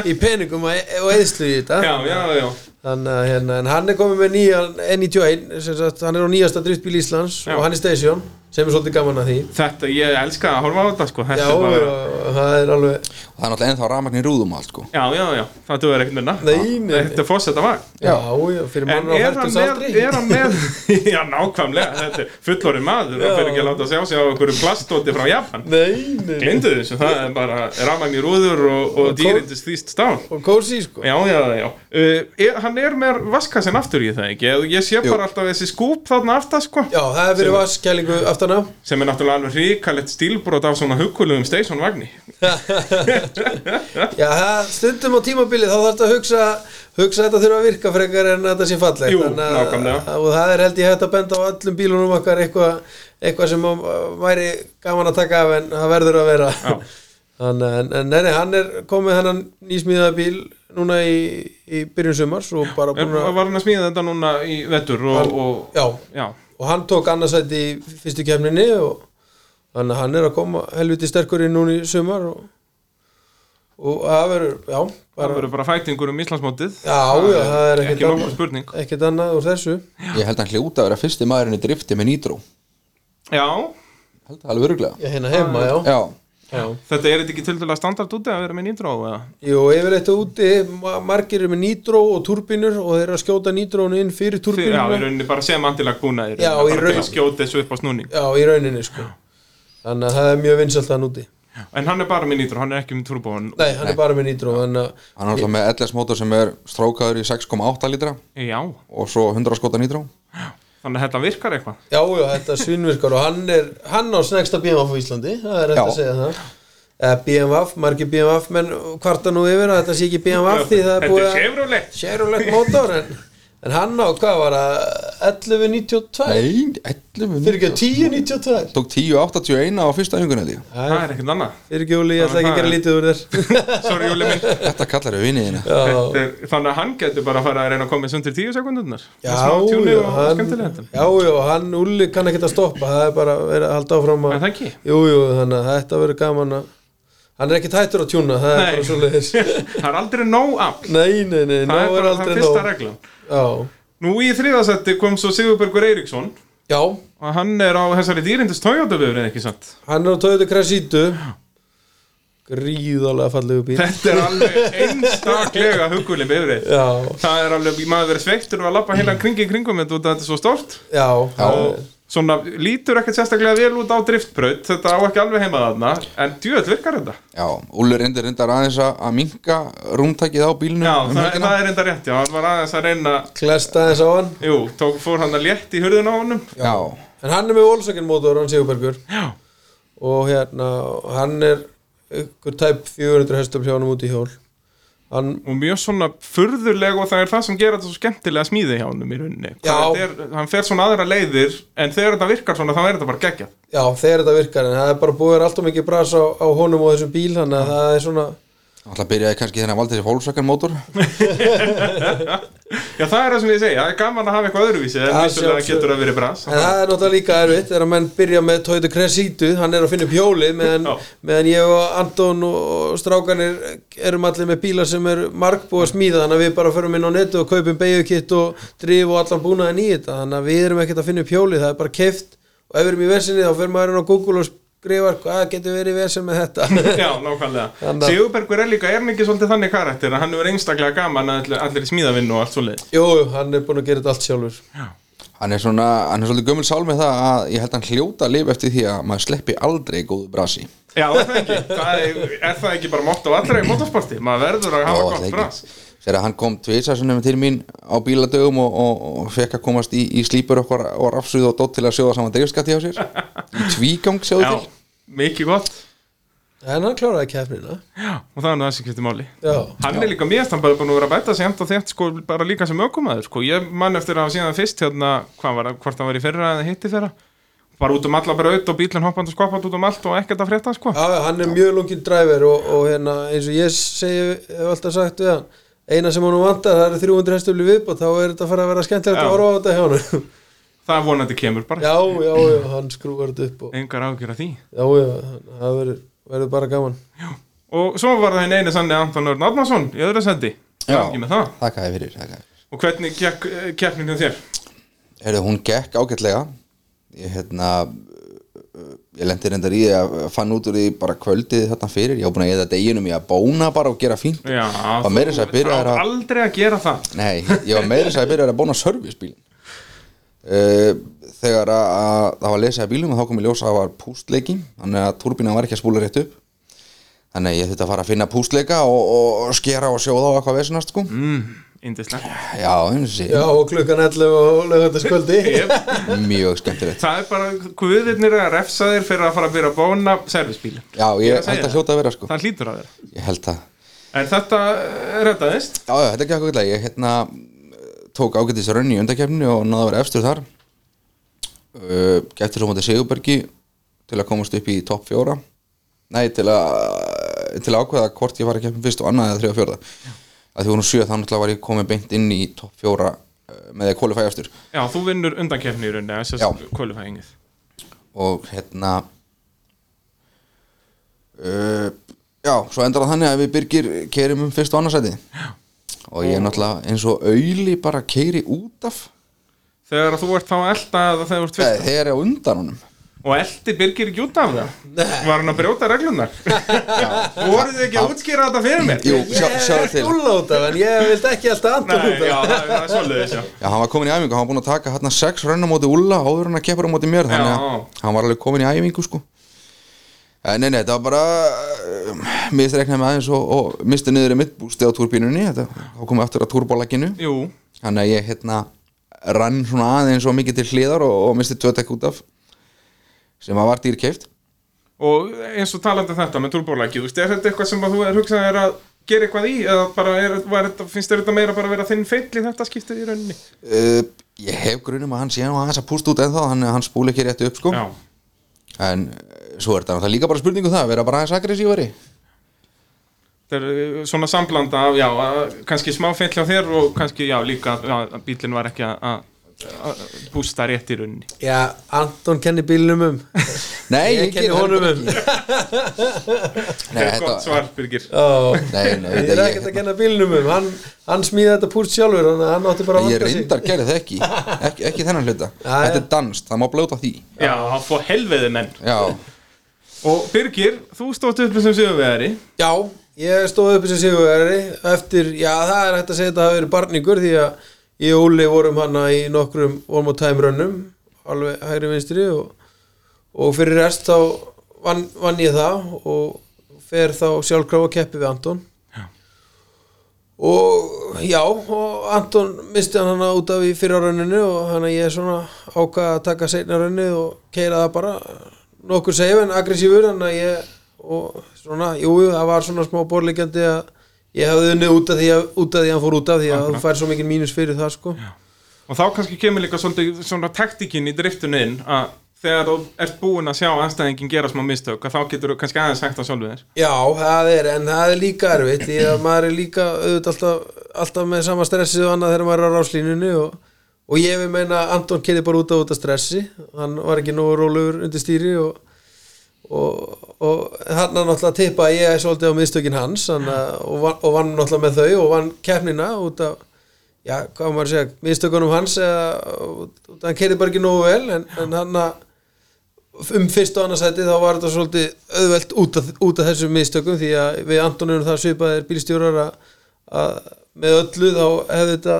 Speaker 3: í peningum að- og eðslu í þetta
Speaker 1: Já, já, já.
Speaker 3: Þannig að hérna, en hann er komið með nýjan N91, sem sagt, hann er á nýjasta driftbíl Íslands
Speaker 1: Já.
Speaker 3: og hann er station, sem er svolítið gaman að því
Speaker 1: Þetta, ég elska að horfa á þetta sko.
Speaker 3: Já,
Speaker 1: Þetta er
Speaker 3: já,
Speaker 1: bara...
Speaker 3: það er alveg
Speaker 2: og það er náttúrulega ennþá rafmagn í rúðum og allt sko
Speaker 1: Já, já, já, það duður ekkert minna
Speaker 3: Nei, nei.
Speaker 1: Þetta er fórsetta vagn
Speaker 3: Já, já, fyrir
Speaker 1: En
Speaker 3: mann á
Speaker 1: er hann
Speaker 3: hættus
Speaker 1: með,
Speaker 3: aldrei
Speaker 1: er hann með Já, nákvæmlega, þetta er fullorinn maður og fyrir ekki að láta sjá sig á einhverju plastóti frá Japan
Speaker 3: Nei, nei, nei
Speaker 1: Glindu þessu, það er bara rafmagn í rúður og, og dýrindist þýst stál
Speaker 3: Og kósi, sko
Speaker 1: Já, já, já, Uh, er, hann er með vaskasinn aftur í það ekki Ég- ég sé
Speaker 2: Jú.
Speaker 1: bara alltaf þessi skúp þarna aftar sko
Speaker 3: Já, það hefur verið vaskælingu aftana
Speaker 1: sem er náttúrulega alveg ríkalett stílbrot af svona hugkvöluðum Station Vagni
Speaker 3: Já, það- stundum á tímabilið þá þarf þetta að hugsa hugsa að þetta þurfa að virka frekar en að þetta sé fallegt
Speaker 1: Jú,
Speaker 3: Þannig að-
Speaker 1: nákvæmlega.
Speaker 3: og það er held ég hægt að benda á öllum bílunum okkar eitthvað eitthva sem að væri gaman að taka af en það verður að vera Þannig, að- en, en nei, nei, hann er komið hennan nýsmíðaða bíl núna í, í byrjun sumars og bara
Speaker 1: Er-
Speaker 3: búin að
Speaker 1: var hann að smíða þetta núna í vettur og, og
Speaker 3: já,
Speaker 1: já,
Speaker 3: og hann tók annarsætt í fyrstu kemninni og þannig að hann er að koma helviti sterkur inn núna í sumar og, og það verður, já,
Speaker 1: það
Speaker 3: bara
Speaker 1: verður bara fætingur um Íslandsmótið
Speaker 3: Já, já, það er ekkert
Speaker 1: ekki
Speaker 3: annað.
Speaker 1: nokkuð spurning
Speaker 3: ekkert annað úr þessu
Speaker 2: Ég held að hann hljóta að vera fyrsti maðurinn í drifti með nýtró
Speaker 1: Já,
Speaker 2: Held það alveg öruglega
Speaker 3: Já, hérna heima, já,
Speaker 2: Já,
Speaker 3: já.
Speaker 1: þetta er þetta ekki tildulega standard úti að vera með nýtrá eða?
Speaker 3: Jú, yfirleitt úti, ma- margir eru með nýtró og turbínur og þeir eru að skjóta nýtrónu inn fyrir
Speaker 1: Því- Já, í
Speaker 3: turbínuna
Speaker 1: rauninni bara sem antilag búnaðir
Speaker 3: Já, í
Speaker 1: bara til að
Speaker 3: raun-
Speaker 1: skjóta þessu upp á snúning
Speaker 3: Já, í rauninni, sko Þannig að það er mjög vinsalt hann úti
Speaker 1: En hann er bara með nýtrá, hann er ekki með turbóin
Speaker 3: Nei, hann er bara með nýtró, þannig að
Speaker 2: hann er alltaf með LS mótor sem er strókaður í 6,8 lítra
Speaker 1: Já,
Speaker 2: og svo 100 skota nýtró
Speaker 1: þannig að þetta virkar eitthvað
Speaker 3: Já, já, þetta svinvirkar og hann er hann á snegsta BMF á Íslandi það er rétt
Speaker 2: Já.
Speaker 3: að segja það Eh, Eða BMF, margir BMF, menn kvarta nú yfir að þetta sé ekki BMF því það er
Speaker 1: Þetta
Speaker 3: búið
Speaker 1: er
Speaker 3: að
Speaker 1: sefrúlegt
Speaker 3: Chevrolet mótor en, en hann á, hvað var það 11.92
Speaker 2: Nei, 11
Speaker 3: fyrir ekki 10.92
Speaker 2: Tók 10.81 á fyrsta önguna því
Speaker 1: Það er ekkert annað
Speaker 3: fyrir ekki Júli, ég ætla ekki að gera lítið úr þér
Speaker 1: Sorry, Júli minn
Speaker 2: Þetta kallar við vinniðina
Speaker 3: já,
Speaker 1: Þetta er, þannig að hann getur bara að fara að reyna að koma þessu undir tíu sekundunar
Speaker 3: já,
Speaker 1: tjúni
Speaker 3: já,
Speaker 1: og
Speaker 3: hann,
Speaker 1: skemmtilegandum
Speaker 3: já, já, hann Úli kann ekki að stoppa það er bara verið að halda áfram
Speaker 1: En
Speaker 3: að
Speaker 1: það ekki
Speaker 3: jú, jú, þannig að þetta verður gaman að hann er ekki tættur að tjúna, það er
Speaker 1: Nei.
Speaker 3: bara svoleiðis
Speaker 1: Það er aldrei nóg afl
Speaker 3: nei, nei,
Speaker 1: Það
Speaker 3: nei,
Speaker 1: er
Speaker 3: nóg er
Speaker 1: bara það
Speaker 3: aldrei
Speaker 1: fyrsta
Speaker 3: nóg
Speaker 1: reglan
Speaker 3: já,
Speaker 1: Nú í þriðasetti kom svo Sigurbergur Eiríksson
Speaker 3: já,
Speaker 1: og hann er á þessari dýrindist Toyota-bifrið ekki satt
Speaker 3: hann er á Toyota Cressítu gríðalega fallegu bíl
Speaker 1: Þetta er alveg einstaklega huguleg bifrið
Speaker 3: já,
Speaker 1: Það er alveg, maður verið sveittur og að labba heilan kringi kringum þetta út að þetta er svo stórt
Speaker 3: já, já.
Speaker 1: og svona lítur ekkert sérstaklega vel út á driftbraut þetta á ekki alveg heima þarna en djöðl virkar þetta
Speaker 2: Já, Úlur reyndir reyndar aðeins að- að minka rúmtækið á bílnum
Speaker 1: Já,
Speaker 2: um
Speaker 1: það,
Speaker 2: helgina.
Speaker 1: það er enda rétt, já, hann var aðeins að reyna
Speaker 3: klesta þess á hann
Speaker 1: Jú, tók, fór hann að létt í hurðun á honum
Speaker 2: Já,
Speaker 3: En hann er með Volkswagen mótor, hann Sigurbergur
Speaker 1: Já,
Speaker 3: og hérna, hann er ykkur tæp 400 hestum hjá hann út í hjól hann,
Speaker 1: og mjög svona furðuleg og það er það sem gera þetta svo skemmtilega smíði hjá honum í rauninni Hvað þetta
Speaker 3: Já.
Speaker 1: er, Hann fer svona aðra leiðir, en þegar þetta virkar svona þá er þetta bara geggjað
Speaker 3: já, þegar þetta virkar en það er bara búið að vera alltaf mikið bras á, á honum og þessum bíl, þannig að það er svona
Speaker 2: alltaf byrjaði kannski þegar hann valdi þessi fólksakar mótor
Speaker 1: Já, það er það sem ég segi, það er gaman að hafa eitthvað öðruvísi en
Speaker 3: Já,
Speaker 1: vissulega
Speaker 3: sjálfsögðu.
Speaker 1: getur að vera brans
Speaker 3: en það er náttúrulega líka erfitt þegar menn byrja með Toyota Cressítu, hann er að finna upp hjólið meðan,
Speaker 1: Já.
Speaker 3: meðan ég og Anton og og strákanir erum allir með bíla sem er markbúið að smíða þannig að við bara förum inn á netu og kaupum beigjurkitt og drif og allan búnaðin í þetta þannig að við erum ekkert að finna upp hjólið, það er bara keift og ef við erum í versinni þá fyrir maður inn á Google og skrifar hvað getur verið í versin með þetta
Speaker 1: Já, nákvæmlega
Speaker 3: Þannig að-
Speaker 1: Sigurbergur er líka, er hann ekki svolítið þannig karakter að hann er einstaklega gaman að allir- allir í smíðavinnu og allt svo leið
Speaker 3: Jú, jú, hann er búin að gera þetta allt sjálfur
Speaker 2: Hann er svona, hann er svolítið gömul sál með það að ég held að hann hljóta að lifa eftir því að maður sleppi aldrei góðu brasi
Speaker 1: Já, er það ekki, það er, er það ekki bara mótt á allra í motorsporti, maður verður að hafa
Speaker 2: Ó,
Speaker 1: gott
Speaker 2: leikir.
Speaker 1: brans
Speaker 2: Þegar hann kom tvisasunum til mín á bíladögum og, og, og fekk að komast í, í slípur okkar og rafsuð og dótt til að sjóða saman drifskatti á sér í tvígang sjóðu
Speaker 1: Já,
Speaker 2: til
Speaker 1: mikið gott
Speaker 3: en hann kláraði keppnina
Speaker 1: Já, og það er nú þessi kvitti máli
Speaker 3: Já,
Speaker 1: Hann er líka mjög, hann bara búin að vera að bæta sig enda þett sko, bara líka sem ökumaður sko. Ég man eftir að hafa síðan fyrst hérna, hvað var, það, hvort það var í fyrra eða hitti fyrra bara út um alla braut og bílinn hoppandi og skoppandi út um allt og ekkert að frétta sko.
Speaker 3: Já, já, hann er mjög lungin driver og, og hérna, eins og ég segi, hef alltaf sagt við hann, eina sem hann vantar, það eru 300 hestöfli viðbót, þá er þetta fara að vera skemmtilegt
Speaker 1: Já.
Speaker 3: að horfa á þetta hjá hann.
Speaker 1: Það vonandi kemur bara,
Speaker 3: já, já, já, hann skrúvar þetta upp og,
Speaker 1: engar ágjur að því
Speaker 3: já, já, hann- það verður, verður bara gaman.
Speaker 1: Og svo var það henni eini sannig Anton Örn Árnason í öðru sendi
Speaker 2: Já.
Speaker 1: Ekki með það.
Speaker 2: Þakkaði fyrir, þakkaði fyrir
Speaker 1: Og hvernig gekk eh, keppnin hjá þér?
Speaker 2: Herðu, hún gekk ágætlega ég hérna ég lendi reyndar í því að fann út úr því bara kvöldið þarna fyrir, ég var búin að eða deginum í að bóna bara og gera fínt
Speaker 1: Já,
Speaker 2: var meira þess að
Speaker 1: þú-
Speaker 2: byrjaðir
Speaker 1: það á
Speaker 2: að-
Speaker 1: aldrei að gera það
Speaker 2: Nei, ég var meira þess að byrja að bóna servicebílin uh, Þegar að, að það var lesið að bílum og þá kom í ljós að það var pústleiki þannig að turbínan var ekki að spúla rétt upp þannig að ég þurfti að fara að finna pústleika og, og skera og sjóða á eitthvað vesinast sko. mm.
Speaker 1: indislegt
Speaker 2: Já, eins og
Speaker 3: Já, og klukkan 11 og lögataskvöldi
Speaker 2: sé Mjög skemmtilegt
Speaker 1: Það er bara, guðirnir er að refsa þér fyrir að fara að byrja að bóna servisbíl
Speaker 2: Já,
Speaker 1: Ég er
Speaker 2: ég
Speaker 1: að segja
Speaker 2: held að
Speaker 1: það.
Speaker 2: hljóta að vera sko
Speaker 1: Það hlýtur að þér
Speaker 2: Ég held að
Speaker 1: En þetta eh, reddaðist
Speaker 2: Já, já, þetta er ekki okkur glæði. Ég hérna, tók ágætis raun í undakefni og náða að vera efstur þar. Uh, Gæfti svo mútið Sigurbergi til að komast upp í topp fjóra. Nei, til að, til að ákveða hvort ég var að keppin fyrst og annað eða þriða og fjórða. Að því voru nú sjö, þá náttúrulega var ég komið beint inn í topp fjóra uh, með því að kólifæja efstur.
Speaker 1: Já, þú vinnur undankefni í rauninni Þess að
Speaker 2: Já.
Speaker 1: kvalifæðingið
Speaker 2: og hérna uh, já, svo endar það þannig að við Birgir kerum um fyrst og annarsæti og ég er náttúrulega eins og auðli bara keiri út af
Speaker 1: Þegar þú ert þá að elta eða þegar þú ert
Speaker 2: Nei,
Speaker 1: fyrst
Speaker 2: þegar ég á undan honum
Speaker 1: Og elti Birgir ekki út af það Var hann að brjóta reglunar Voruð þið ekki að útskýra þetta fyrir mér
Speaker 2: Jú,
Speaker 3: Ég
Speaker 2: sjá, sjá
Speaker 3: er
Speaker 2: til
Speaker 3: skúla út af en ég vildi ekki alltaf andan
Speaker 1: Nei,
Speaker 3: út
Speaker 1: já,
Speaker 3: af
Speaker 1: það það er svolítið Já,
Speaker 2: Já, hann var komin í æfingu, hann var búin að taka hérna sex rönn á móti Ulla áður en að keppur á móti mér þannig að
Speaker 1: Já.
Speaker 2: hann var alveg komin í æfingu sko En nei, nei, þetta var bara um, misreiknaði með aðeins og, og misti niður í mittbústi á túrbínunni þetta, þá komið aftur að túrbólaginu
Speaker 1: jú,
Speaker 2: þannig að ég hérna rann svona aðeins og mikið til hliðar og, og misti tvö tekk út af sem að var dýrkeift
Speaker 1: og eins og talandi um þetta með túrbólæki, þú veist, er þetta eitthvað sem að þú er hugsað er að gera eitthvað í eða bara er, var þetta, finnst þér þetta meira bara að vera þinn feill í þetta skiptið í rauninni
Speaker 2: uh, ég hef grunum að hann sé nú aðeins að pústa út ennþá þannig að hann spúli ekki rétt upp sko
Speaker 1: Já,
Speaker 2: en eh, svo er þetta náttúrulega líka bara spurningu um það að vera bara aðeins aggressívari
Speaker 1: þetta er uh, svona samblanda af, já, að- kannski smá feill á þér og kannski, já, líka að- að bílinn var ekki að- að að bústa rétt í rauninni
Speaker 3: Já, Anton kenni bílnum um
Speaker 2: nei,
Speaker 3: Ég
Speaker 2: geri
Speaker 3: kenni
Speaker 2: það
Speaker 3: honum
Speaker 2: bara
Speaker 3: um.
Speaker 2: ekki. nei,
Speaker 1: Þetta er
Speaker 2: þetta
Speaker 1: gott svar, Birgir
Speaker 3: Ó,
Speaker 2: Nei, nei,
Speaker 3: Ég
Speaker 2: þetta-
Speaker 3: er
Speaker 2: ég-
Speaker 3: ekkert að kenna bílnum um Hann, hann smíði þetta púrt sjálfur Þannig að hann átti bara að
Speaker 2: ég
Speaker 3: vanda sig
Speaker 2: reyndar gerði það ekki ekki, ekki þennan hluta
Speaker 3: Já,
Speaker 2: þetta
Speaker 3: já.
Speaker 2: er danst, það má blóta því
Speaker 1: Já, það fór helveði menn
Speaker 2: já,
Speaker 1: Og Birgir, þú stótt upp sem sigurvegari
Speaker 3: Já, ég stóð upp sem sigurveri Eftir, já, það er hægt að segja þetta hafi verið barningur Því að ég og Úli vorum hana í nokkrum Vorum á time runnum Alveg hægri vinstri og, og fyrir rest þá vann, vann ég það Og fer þá sjálfkrafa að keppi við Anton og já og Anton misti hann hana út af í fyrra rauninu og hann að ég svona ákvað að taka seinna rauninu og keira það bara nokkur seif en aggressífur hann að ég og svona, jú, jú, það var svona smá borlíkjandi að ég hefði unnið út af því að, út af því að hann fór út af því að þú fær svo mikið mínus fyrir það sko já,
Speaker 1: Og þá kannski kemur líka svolítið svona taktikinn í driftinu inn að þegar þú ert búinn að sjá anstæðingin gera smá mistök að þá getur þú kannski aðeins hægt að sjálfu þér
Speaker 3: það er, en það er líka erfitt því að maður er líka auðvitað alltaf, alltaf með sama stressið og annað þegar maður er á ráslínunni og, og ég vil meina að Anton keiri bara út af út af stressi hann var ekki nógu rólegur undir stýri og og, og hann er náttúrulega tippa að ég er svolítið á miðstökin hans hann, að- og, vann, og vann náttúrulega með þau og vann keppnina út af já, hvað á maður að segja, miðstökunum hans eða, út, út, af hann keiri bara ekki nógu vel en, en hann að um fyrst og annarsæti þá var þetta svolítið auðvelt út af, út af þessum miðstökum því að við Antonunum það svipaðir bílstjórar að, að með öllu þá hefði þetta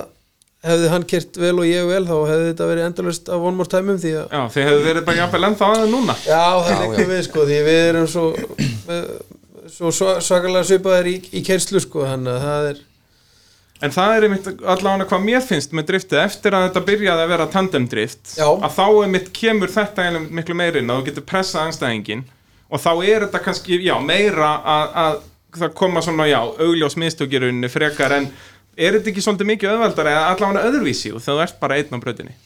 Speaker 3: hefði hann kert vel og ég vel þá hefði þetta verið endalust af one more time um því að
Speaker 1: Já, þið hefur verið bara jafnvel ennþá aðeins núna
Speaker 3: Já, það
Speaker 2: Já,
Speaker 3: liggur
Speaker 2: já.
Speaker 3: við sko því við erum svo, með- svo sva- svakalega svipaðir í, í kerslu sko þannig að það er
Speaker 1: En það er einmitt allavega hvað mér finnst með driftið eftir að þetta byrjaði að vera tandemdrift
Speaker 3: Já.
Speaker 1: að þá einmitt kemur þetta eiginlega miklu meirinn að þú getur pressað anstæðingin og þá er þetta kannski, já, meira að, að það koma svona, já, augljós mistök í rauninni frekar en er þetta ekki svolítið mikið öðveldar eða allavega öðruvísi og þegar þú ert bara einn á bröðinni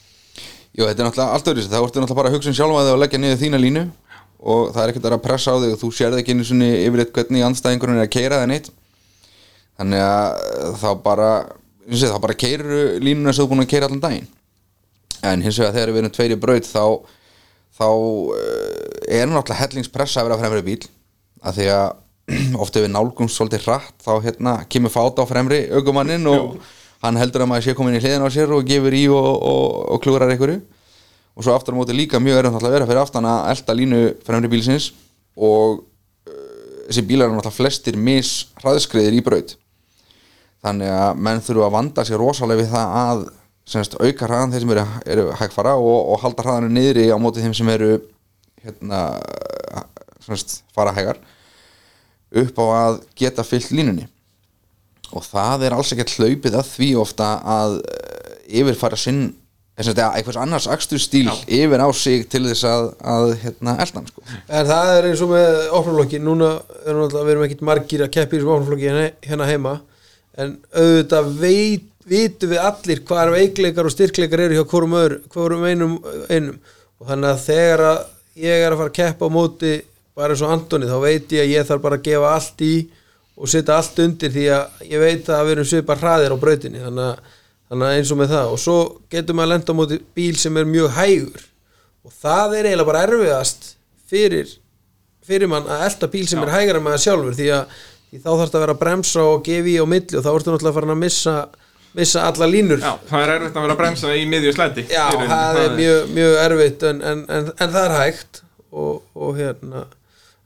Speaker 2: jú, þetta er náttúrulega allt öðru þá ertu náttúrulega bara að hugsa um sjálfa þig og leggja niður þína línu og það er ekkert að vera að pressa á þig og þú sérð ekki einu sinni yfirleitt hvernig anstæðingurinn er að keira það neitt þannig að eh, þá bara eins og þá bara keiru línuna sem þú er búin að keira allan daginn en hins vegar þegar við erum tveir í braut þá þá eh, er náttúrulega hellingspressa að vera fremri bíl að því að ofta við nálgumst svolítið hratt þá hérna kemur fát á fremri aukumannin og hann heldur að maður sé komin í hliðin á sér og gefur í og, og, og klúrar einhverju og svo aftur á móti líka mjög erum náttúrulega að vera fyrir aftan að elta línu fremri bílsins og eh, þessi bílar eru náttúrulega flestir mis hraðskriðir í braut þannig að menn þurfu að vanda sér rosalega við það að semst, auka hraðan þeir sem eru, eru hægfara og, og halda hraðanum niðri á móti þeim sem eru hérna semst, fara hægar upp á að geta fyllt línunni og það er alls ekkert hlaupið að því ofta að eh, yfirfæra sinn eh, þess að einhvers annars akstur stíl yfir á sig til þess að, að hérna, eldan sko.
Speaker 3: En það er eins og með opnaflokki Núna erum alltaf, við erum ekkit margir að keppi í þessum opnaflokki hérna- hérna heima En auðvitað veit, vitum við allir hvað er veikleikar og styrkleikar eru hjá hvorum, öður, hvorum einum, einum Og þannig að þegar að ég er að fara að keppa á móti bara eins og Antoni þá veit ég að ég þarf bara að gefa allt í og setja allt undir því að ég veit að við erum svipa hraðir á brautinni þannig að, þannig að eins og með það og svo getum við að lenda á móti bíl sem er mjög hægur og það er eiginlega bara erfiðast fyrir, fyrir mann að elta bíl sem er hægara með það sjálfur því að því þá þarfst að vera að bremsa og gefa í á milli og þá ertu náttúrulega farin að missa, missa alla línur
Speaker 1: Já, það er erfitt að vera að bremsa í miðju slætti
Speaker 3: Já,
Speaker 1: Í rauninni,
Speaker 3: það er mjög, mjög erfitt en, en, en, en það er hægt og, og hérna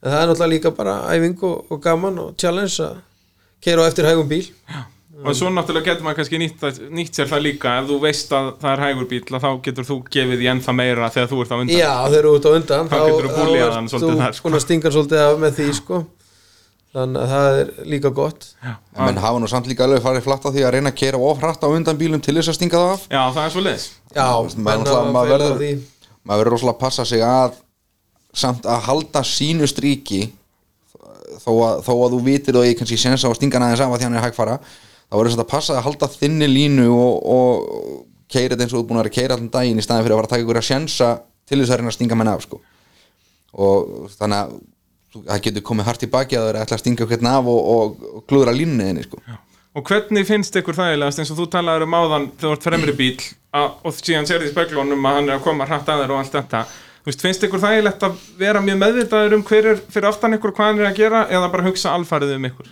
Speaker 3: en það er náttúrulega líka bara æfing og, og gaman og challenge að keira á eftir hægum bíl
Speaker 1: Og svo náttúrulega getur maður kannski nýtt, það- nýtt sér það líka ef þú veist að það er hægur bíl að þá getur þú gefið því ennþá meira þegar þú ert á undan
Speaker 3: Já, þeir eru út á undan
Speaker 1: Þá geturðu búlíað hann
Speaker 3: ert
Speaker 1: svolítið
Speaker 3: þú
Speaker 1: þar, sko.
Speaker 3: búin að stinga hann svolítið af með því sko. þannig að það er líka gott
Speaker 2: en menn hafa nú samt líka alveg farið flatt á því að reyna að kera of hratt á undan bílum til þess að stinga það af
Speaker 1: Já, það er svo leiðis
Speaker 3: Já,
Speaker 2: Maður náttúrulega-
Speaker 3: menn
Speaker 2: maður
Speaker 3: að
Speaker 2: verður-
Speaker 3: feila því
Speaker 2: maður verður rosalega að passa sig að samt að halda sínu stríki þó að, þó að þú vitir og ég kannski sensa og stinga hann aðeins af að því hann er hægfara þá verður þetta að passa að halda þinni línu og, og keira þetta eins og þú ert búin að vera að keira allan daginn í staðin fyrir að fara að taka ykkur að sensa til þess að reyna að stinga menn af sko. og þannig að þú- það getur komið hart í baki að það er að stinga hvernig af og, og, og klúðra línunni þinni sko.
Speaker 1: Og hvernig finnst ykkur þægilegast eins og þú talaður um áðan þegar þú ert fremri bíl að, og síðan sérði í speglunum að hann er að koma hratt að þér og allt þetta Þú veist, finnst ykkur þægilegt að vera mjög meðvitaður um hver er fyrir aftan ykkur og hvað hann er að gera eða bara hugsa alfarið um ykkur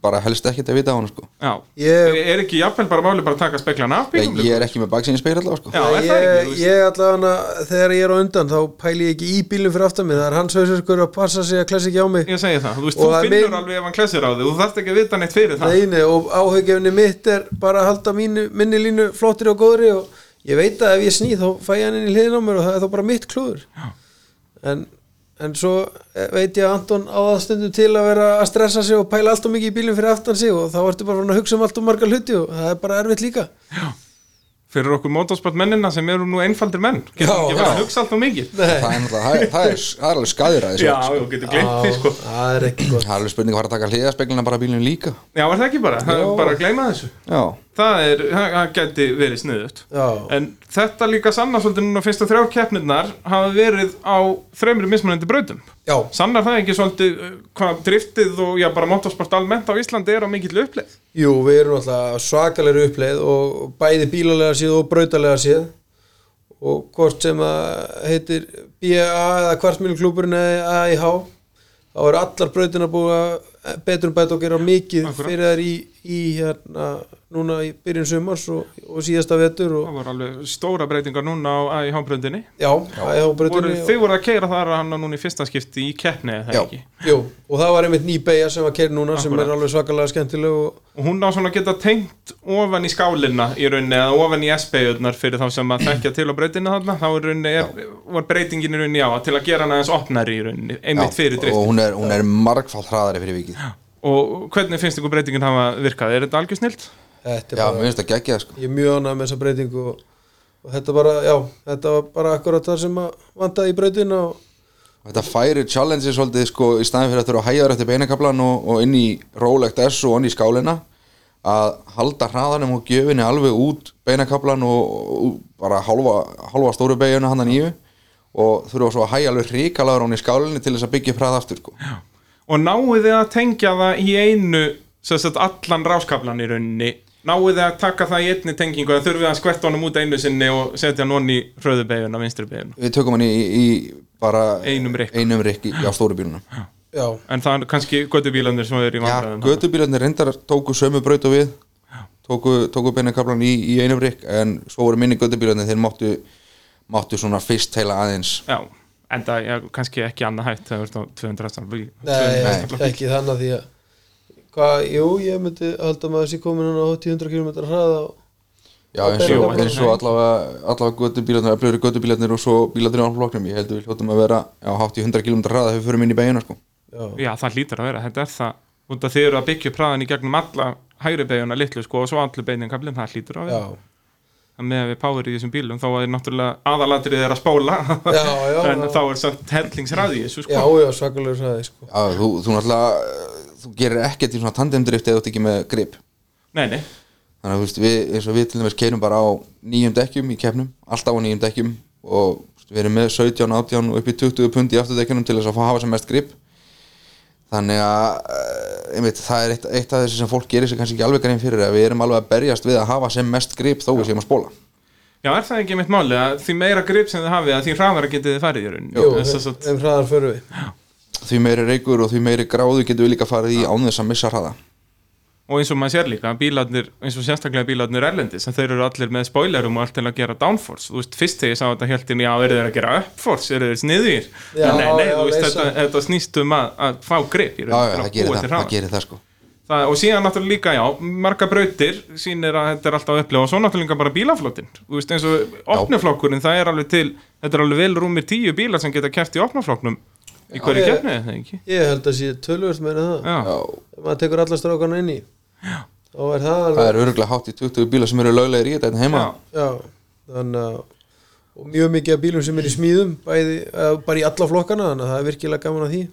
Speaker 2: bara helst ekkert að vita á hann sko.
Speaker 1: Já,
Speaker 3: Ég-
Speaker 1: er ekki jafnvel bara máli bara að taka speglana af
Speaker 2: ég,
Speaker 1: bílum?
Speaker 2: ég er ekki með baksinni speil allavega sko.
Speaker 1: Já, er það ekki,
Speaker 3: ég,
Speaker 1: þú veist?
Speaker 3: ég allavega þegar ég er á undan þá pæli ég ekki í bílum fyrir aftan mig það er hans hausverkur að passa sig að klessa ekki á mig
Speaker 1: Ég segi það, þú veist,
Speaker 3: Og
Speaker 1: þú
Speaker 3: að
Speaker 1: finnur
Speaker 3: minn-
Speaker 1: alveg ef hann klessir á þig, þú þarft ekki að vita neitt fyrir það
Speaker 3: Neini, og áhugjefni mitt er bara að halda mínu, minni línu flottri og góðri og ég veit að ef ég sný þá fæ ég hann inn í hliðin á mér og það er þá bara mitt klúður en, en svo eh, veit ég að Anton á það stundum til að vera að stressa sig og pæla allt og mikið í bílum fyrir aftan sig og þá ertu bara farinn að hugsa um allt og marga hluti og það er bara erfitt líka
Speaker 1: Fyrir okkur motorsport mennina sem eru nú einfaldir menn Getur
Speaker 3: Já,
Speaker 1: ekki bara
Speaker 3: já.
Speaker 1: að hugsa allt og mikið
Speaker 3: Nei,
Speaker 2: það er náttúrulega það er- það er, það er alveg skaðiræði
Speaker 1: Já, þú getur gleymt því sko
Speaker 3: það er ekki gott
Speaker 2: Það er alveg spurning að fara að taka hliðaspeglina bara bílinu líka
Speaker 1: Já, er það ekki bara, það er
Speaker 2: Já.
Speaker 1: bara að gleyma þessu
Speaker 2: Já,
Speaker 1: Það er, það það gæti verið sniðut
Speaker 3: Já.
Speaker 1: En þetta líka sannar svolítið núna fyrstu þrjár keppnirnar hafa verið á þreymri mismunandi brautum
Speaker 3: Já,
Speaker 1: Sannar það ekki svolítið uh, hvað driftið og já bara motorsport almennt á Íslandi er á mikill uppleið
Speaker 3: Jú, við erum alltaf svakalegri uppleið og bæði bílalega síð og brautalega síð og hvort sem að heitir BA eða kvartmjölklúburinn eða AIH þá eru allar brautina búið að betur um bæta og gera mikið
Speaker 1: Akkurat.
Speaker 3: fyrir þær í, í hérna núna í byrjun sumars og, og síðasta vetur og
Speaker 1: Það voru alveg stóra breytingar núna á AIH-brautinni
Speaker 3: já, AIH
Speaker 1: voru,
Speaker 3: brautinni
Speaker 1: Þið voru að keira þar að hann núna í fyrsta skipti í keppni eða það
Speaker 2: Já.
Speaker 1: ekki
Speaker 3: Jú, og það var einmitt ný beigja sem að kerja núna sem
Speaker 1: Akkurat.
Speaker 3: er alveg svakalega skemmtileg og
Speaker 1: og hún á svona að geta tengt ofan í skálina í rauninni eða ofan í SB-jörnar fyrir þá sem að þekkja til á breytinu þarna þá er rauninni, er, var breytingin í rauninni já til að gera hana aðeins opnari í rauninni einmitt fyrir drift
Speaker 2: og
Speaker 1: og,
Speaker 2: hún er, hún er margfald hraðari fyrir vikið
Speaker 1: hvernig finnst ykkur breytingin hafa virkað, er þetta algjör snilt?
Speaker 3: þetta er
Speaker 2: Já,
Speaker 3: bara
Speaker 2: mér finnst það geggja sko
Speaker 3: ég er mjög ánægð með þessa breytingu og, og þetta bara, já, þetta var bara akkurat það sem að vantaði í breytin og
Speaker 2: Þetta færi challenge svolítið sko í staðin fyrir að þurfa að hægja þér eftir beinakablan og, og inn í rólegt S og inn í skálina að halda hraðanum og gjöfinni alveg út beinakablan og, og bara hálfa, hálfa stóru beiguna hann að nýju og þurfa svo að hægja alveg hrikalaður hún í skálinni til þess að byggja upp hraða aftur sko
Speaker 1: og náið þið að tengja það í einu sem sagt allan ráskablan í rauninni náið þið að taka það í einni tengingu eða þurfið þið að skvetta honum út einu sinni og setja hann onni í hröðubeguna, vinstribeguna
Speaker 2: Við tökum hann í, í bara
Speaker 1: Einum rykk.
Speaker 2: einum rykk í- á stóru bílunum
Speaker 3: já,
Speaker 1: en það er kannski göttubílandir sem eru í
Speaker 2: Já,
Speaker 1: vandræðum
Speaker 2: gödubílarnir reyndar tóku sömu braut og við tóku, tóku beinakablan í, í einum rikk en svo voru minni gödubílarnir þeir máttu, máttu svona fyrst heila aðeins
Speaker 1: Já, en það er kannski ekki annað hægt þegar þú ert á 200 hestar bíl
Speaker 3: nei,
Speaker 1: 200 hestar bíl.
Speaker 3: ekki þannig að því að hvað, jú, ég myndi halda maður þessi komin hann á 80-100 km hraða og
Speaker 2: Já, eins
Speaker 1: Jú,
Speaker 2: og,
Speaker 1: þetta er
Speaker 2: eins og allavega, allavega gödubílarnir, öflugur gödubílarnir og svo bílarnir á flokknum, ég held að við hljóttum að vera á hátt í 100 km hraða þegar við förum inn í beiguna sko
Speaker 3: já,
Speaker 1: Já, það hlýtur að vera, þetta er það út af þið eru að byggja upp hraðan í gegnum alla hægri beiguna litlu sko og svo allir beiningablin það hlýtur að
Speaker 3: já,
Speaker 1: vera En með að við power í þessum bílum þá er náttúrulega aðalatrið er að spóla
Speaker 3: já, já,
Speaker 1: en
Speaker 3: já,
Speaker 1: þá er samt hellingsræði þessu sko
Speaker 3: já, já svakalega sæði sko.
Speaker 2: Já, þú, þú náttúrulega, eh, þú gerir ekkert í svona tandemdrift eða þú ert ekki með grip
Speaker 1: Nei, nei,
Speaker 2: Þannig að þú veist, við, eins og við til dæmis keirum bara á nýjum dekkjum í keppnum, alltaf á nýjum dekkjum og þú veist, við erum með 17, 18 og upp í 20 pund í afturdekkjunum til þess að fá að hafa sem mest grip Þannig að, eh, einmitt, það er eitt, eitt af þessi sem fólk gerir sig kannski ekki alveg grein fyrir að við erum alveg að berjast við að hafa sem mest grip þó við séum að spóla
Speaker 1: já er það ekki mitt máli að því meira grip sem þið hafið að því hraðara getið þið farið í
Speaker 3: Jú,
Speaker 1: rauninni Þess að satt-
Speaker 3: þeim hraðar förum við
Speaker 2: Því meiri reykur og því meiri gráðu getum við líka farið í án þess að missa hraða
Speaker 1: og eins og maður sér líka bílarnir, eins og sérstaklega bílarnir erlendis en þeir eru allir með spoilerum og allt til að gera downforce þú veist, fyrst þegar ég sá þetta heldin já, eru þeir að gera upforce, eru þeir sniðir
Speaker 3: Já,
Speaker 1: nei, nei,
Speaker 3: já,
Speaker 1: þú veist,
Speaker 3: leysa.
Speaker 1: þetta, þetta snýst um að, að fá grip í
Speaker 2: Já,
Speaker 1: rauninni
Speaker 2: já,
Speaker 1: til að
Speaker 2: það gerir
Speaker 1: búa
Speaker 2: það,
Speaker 1: til
Speaker 2: það
Speaker 1: hraða.
Speaker 2: gerir það sko
Speaker 1: það, og síðan náttúrulega líka, já, marga brautir sýnir að þetta er alltaf að upplifa og svo náttúrulega líka bara bílaflottin þú veist, eins og opnuflokkurinn, það er alveg til þetta er alveg vel rúmir tíu bílar sem geta kæft í opnuflokknum í hverju
Speaker 3: ég-
Speaker 1: keppni, er það ekki?
Speaker 3: ég held að sé tölvöld meina það
Speaker 1: Já,
Speaker 2: Já,
Speaker 3: ef maður tekur alla strákana inn í þá er það
Speaker 2: það
Speaker 3: alveg
Speaker 2: er örgulega hátt í 20 bíla sem eru löglegir í þetta hérna heima
Speaker 1: já,
Speaker 3: já, þannig að og mjög mikið af bílum sem er í smíðum bæði, uh, bara í alla flokkana þannig að það er virkilega gaman að því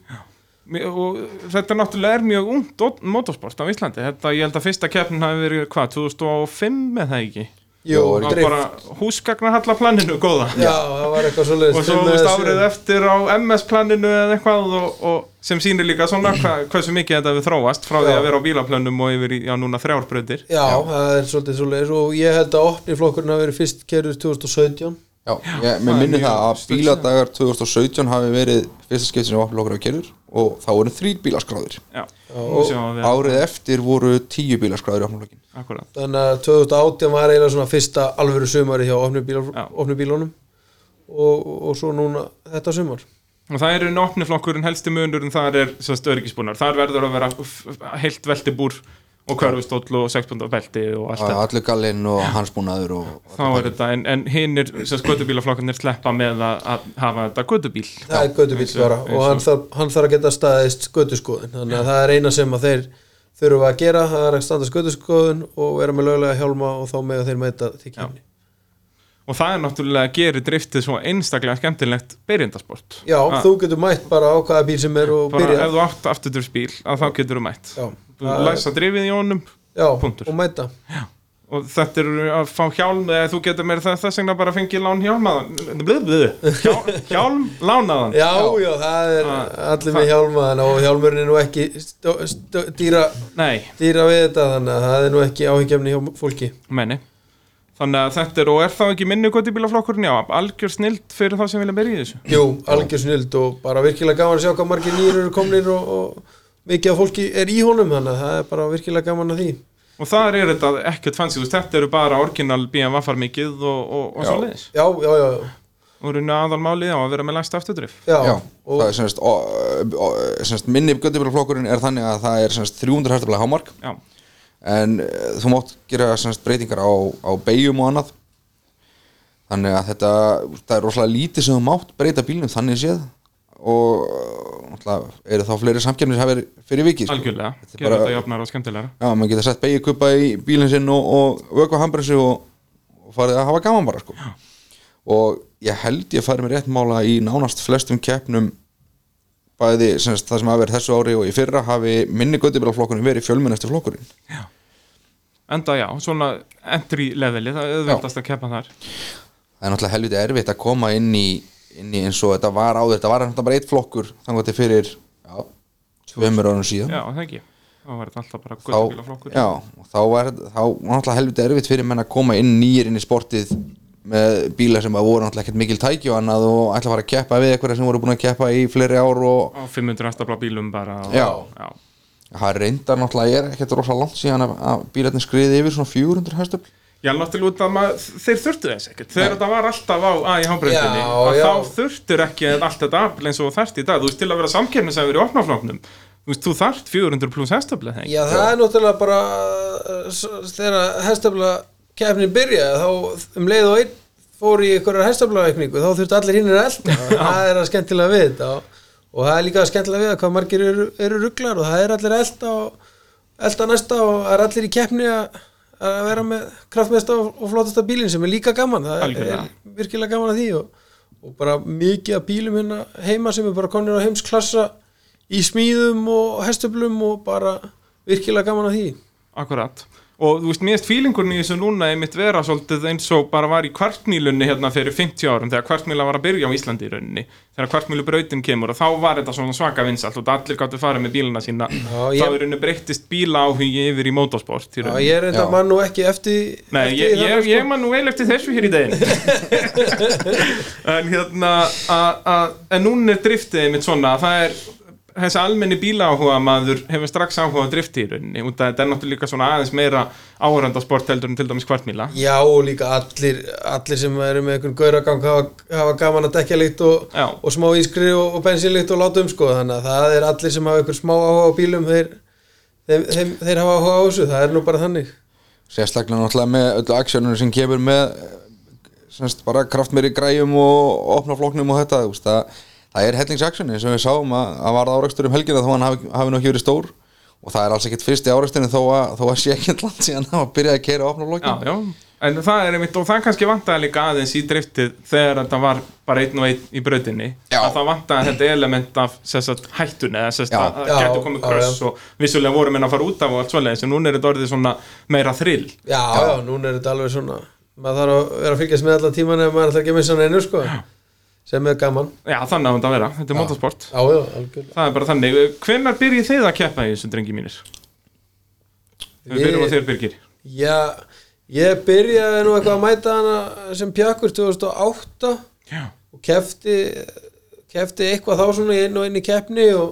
Speaker 1: Mér- og þetta náttúrulega er mjög ungt og- motorsport á Íslandi þetta, ég held að fyrsta keppnin hafi verið hvað, 2005 eða ekki
Speaker 2: Jó,
Speaker 3: Jú,
Speaker 1: það var
Speaker 3: drift.
Speaker 1: bara húsgagnarhalla planinu góða
Speaker 3: já, það var eitthvað svoleiðis
Speaker 1: og svo
Speaker 3: Fimm
Speaker 1: þú veist
Speaker 3: eða sjö.
Speaker 1: árið eftir á MS planinu eða eitthvað og, og sem sýnir líka svona hva, hversu mikið þetta við þróast frá því
Speaker 3: Já.
Speaker 1: að vera á bílaplanum og yfir í já, núna þrjárbröðir
Speaker 3: já, það er svolítið svoleiðis og ég held að opni flokkurinn hafi verið fyrst kerður 2017
Speaker 2: Já, ég, mér
Speaker 1: það er
Speaker 2: minni
Speaker 1: mjög
Speaker 2: það að
Speaker 1: stutt
Speaker 2: bíladagar 2017 hafi verið fyrsta skipti sem opnlokkur á kerður og þá voru þrýr bílaskráður
Speaker 1: já, nú sjáum við
Speaker 2: árið eftir voru tíu bílaskráður í opnlokkin
Speaker 1: akkurat
Speaker 3: þannig að 2018 var eiginlega svona fyrsta alvöru sumari hjá opni, bíl,
Speaker 1: Já.
Speaker 3: opni bílunum og, og svo núna þetta sumar
Speaker 1: Og það eru náttúrflokkurinn helsti munur en þar er sérst örgisbúnar. Þar verður að vera f- f- heilt veltibúr og körfustóll og sexbundabelti og allt þetta.
Speaker 2: allur gallinn og hans búnaður og, og
Speaker 1: þá er þetta, en, en hinnir skötubílaflokkarnir sleppa með að, að hafa þetta götubíl
Speaker 3: það er gödubíl
Speaker 1: eins og-
Speaker 3: bara
Speaker 1: eins
Speaker 3: og
Speaker 1: og-
Speaker 3: hann þarf, hann þarf að geta staðist göduskoðun þannig að það er eina sem að þeir þurfa að gera, það er að standast göduskoðun og vera með löglega hjálma og þá með þeir mæta til kemni
Speaker 1: og það er náttúrulega að gera driftið svo einstaklega skemmtilegt byrjandasport
Speaker 3: já,
Speaker 1: Ah.
Speaker 3: þú getur mætt bara á hvaða bíl sem er og
Speaker 1: bara
Speaker 3: byrja
Speaker 1: ef þú átt afturdriftsbíl að þá getur þú mætt
Speaker 3: já,
Speaker 1: þú læsa drifið í honum
Speaker 3: já
Speaker 1: punktur.
Speaker 3: og mæta
Speaker 1: og þetta eru að fá hjálm eða þú getur meira það þess vegna bara að fengi lán hjálmaðan blöð, blöð, hjálm, hjálm lánaðan
Speaker 3: já, já, það er
Speaker 1: Ah,
Speaker 3: allir með hjálma þannig að- og hjálmurinn er nú ekki stó, stó, dýra
Speaker 1: nei,
Speaker 3: dýra við þetta þannig að það er nú ekki áhengjafni hjá fólki
Speaker 1: menni þannig að þetta er, og er þá ekki minni götubílaflokkurinn já, algjör snild fyrir þá sem vilja byrja í þessu
Speaker 3: Jú, algjör snild og bara virkilega gaman að sjá hvað margir nýjur eru komnir og, og mikið af fólki er í honum þannig að það er bara virkilega gaman að því
Speaker 1: Og þar er þetta ekkert fancy, þú veist, þetta eru bara orginal BMW farmikið og, og, og svo leiðis.
Speaker 3: Já, já, já, já,
Speaker 1: Og runni aðalmálið á að vera með lægsta afturdrif.
Speaker 3: já,
Speaker 2: Já,
Speaker 3: og,
Speaker 2: það er semst, ó, ó, semst minni göttubílaflokkurinn er þannig að það er semst 300 hestabla hámark
Speaker 1: Já,
Speaker 2: en eh, þú mátt gera semst breytingar á, á beigjum og annað þannig að þetta það er rosalega lítið sem þú mátt breyta bílnum þannig séð og eh, náttúrulega eru þá fleiri samkjæmnis hafið fyrir vikið sko.
Speaker 1: algjörlega.
Speaker 2: Þetta er
Speaker 1: Gerðu
Speaker 2: bara-
Speaker 1: þetta jafnara og skemmtilegra.
Speaker 2: Já, maður getur sett beigjukupa í bílinn sinn og, og vökva handbremsu og, og farið að hafa gaman bara sko. og ég held ég farið mér rétt mála í nánast flestum keppnum bæði semst, það sem hafi verið þessu ári og í fyrra hafi minni göttubílaflokkurinn verið fjölmennasti flokkurinn
Speaker 1: Enda já, svona entry leveli, það er auðveldast að keppa þar.
Speaker 2: það er náttúrulega helviti erfitt að koma inn í, inn í eins og þetta var áður þetta var náttúrulega bara eitt flokkur þannig að þetta fyrir já, tveimur árum síðan
Speaker 1: Já, það ekki. Það var þetta alltaf bara
Speaker 2: þá,
Speaker 1: gullbílaflokkur.
Speaker 2: já, og þá var þá var náttúrulega helviti erfitt fyrir menn að koma inn nýjir inn í sportið með bíla sem að voru náttúrulega ekkert mikil tæki og annað og ætla að fara að keppa við eitthvað sem voru búin að keppa í fleiri ár og
Speaker 1: Á 500 hestabla bílum bara. Og,
Speaker 2: Já.
Speaker 1: já.
Speaker 2: það reyndar náttúrulega er ekkert rosa langt síðan að, að bílarnir skriði yfir svona 400 hestöfl
Speaker 1: Já, náttúrulega út að maður, þeir þurftu þess ekkert. Þegar þetta var alltaf á AIH-bröndinni,
Speaker 3: Já,
Speaker 1: að
Speaker 3: já.
Speaker 1: þá þurftur ekki allt þetta afl eins og þarft í dag. Þú veist, til að vera samkeppnisæfur í opnafloknum, þú veist, þú þarft 400 pluss hestabla, það ekki?
Speaker 3: já, það er náttúrulega bara uh, s- þegar hestafla kefnin byrjaði þá um leið og einn fór í einhverjar hestaflaveikningu þá þurfti allir hinnir að elda það er að skemmtilega við þetta og, og það er líka skemmtilega við að hvað margir eru, eru rugglar og það er allir að elda og elda næsta og það er allir í keppni að að vera með kraftmesta og, og flottasta bílinn sem er líka gaman, það
Speaker 1: Algjörlega.
Speaker 3: er virkilega gaman að því og, og bara mikið af bílum hérna heima sem er bara konir á heimsklassa í smíðum og hestöflum og bara virkilega gaman að því
Speaker 1: Akkurat Og þú veist, mér erst fílingurinn í þessu núna einmitt vera svolítið eins og bara var í kvartmílunni hérna fyrir 50 árum þegar kvartmíla var að byrja á Íslandi í rauninni þegar kvartmílubrautin kemur og þá var þetta svona svaka vinsalt og allir gáttu farið með bílana sína
Speaker 3: Já, ég-
Speaker 1: þá í rauninni breyttist bílaáhugi yfir í motorsport í
Speaker 3: Já,
Speaker 1: rauninni
Speaker 3: ég er enda
Speaker 2: Já.
Speaker 3: mann nú ekki eftir
Speaker 1: Nei,
Speaker 3: eftir
Speaker 1: ég,
Speaker 3: það,
Speaker 1: ég,
Speaker 3: sko.
Speaker 1: ég man nú vel eftir þessu hér í daginn En hérna a- a- En núna er driftið mitt svona að Það er þessi almenni bílaáhuga maður hefur strax áhuga á drifti í rauninni út að þetta er náttúrulega líka svona aðeins meira áhöranda sport heldur en til dæmis kvartmíla
Speaker 3: Já, og líka allir, allir sem eru með einhvern gauragang hafa, hafa gaman að dekja líkt og,
Speaker 1: Já.
Speaker 3: og smá ískri og, og bensinlíkt og láta um sko þannig að það er allir sem hafa einhvern smá áhuga á bílum þeir, þeir, þeir, þeir hafa áhuga á þessu, það er nú bara þannig
Speaker 2: sérstaklega náttúrulega með öllu aksjónunum sem kemur með semst, bara kraft meiri græjum og opna flóknum og þetta þú veist, það, það er hellingsaksjónin sem við sáum að, að varða árekstur um helgina þó hann hafi, hafi nú ekki verið stór og það er alls ekkit fyrst í áreksturinn þó að, þó að sé ekki land síðan að byrja að keira opna
Speaker 1: Já,
Speaker 2: flóknum
Speaker 1: já En það er einmitt, og það kannski vantaði líka aðeins í driftið þegar þetta var bara einn og einn í brautinni
Speaker 2: Já.
Speaker 1: að það vantaði þetta element af sem sagt, hættunni eða sem sagt,
Speaker 2: Já.
Speaker 1: að það
Speaker 3: Já,
Speaker 1: getur komið
Speaker 3: já,
Speaker 1: kröss
Speaker 3: já.
Speaker 1: og vissulega vorum en að fara út af og allt svoleiðis en núna er þetta orðið svona meira þrill
Speaker 3: Já, já, núna er þetta alveg svona maður þarf að vera að fylgjast með alla tíman ef maður ætlar ekki að missa hann einu sko sem er gaman
Speaker 1: Já, þannig að þetta að vera, þetta er motorsport
Speaker 3: Já, já, algjörlega
Speaker 1: Það er bara þannig, hvenær byrjið þið að keppa í þessu drengi mínir? Við
Speaker 3: Við-
Speaker 1: byrjum á þér Birgir
Speaker 3: Já, ég byrjaði nú eitthvað að mæta hana sem pjakkur 2008
Speaker 1: Já,
Speaker 3: og kefti kefti eitthvað þá svona í inn og inn í keppni og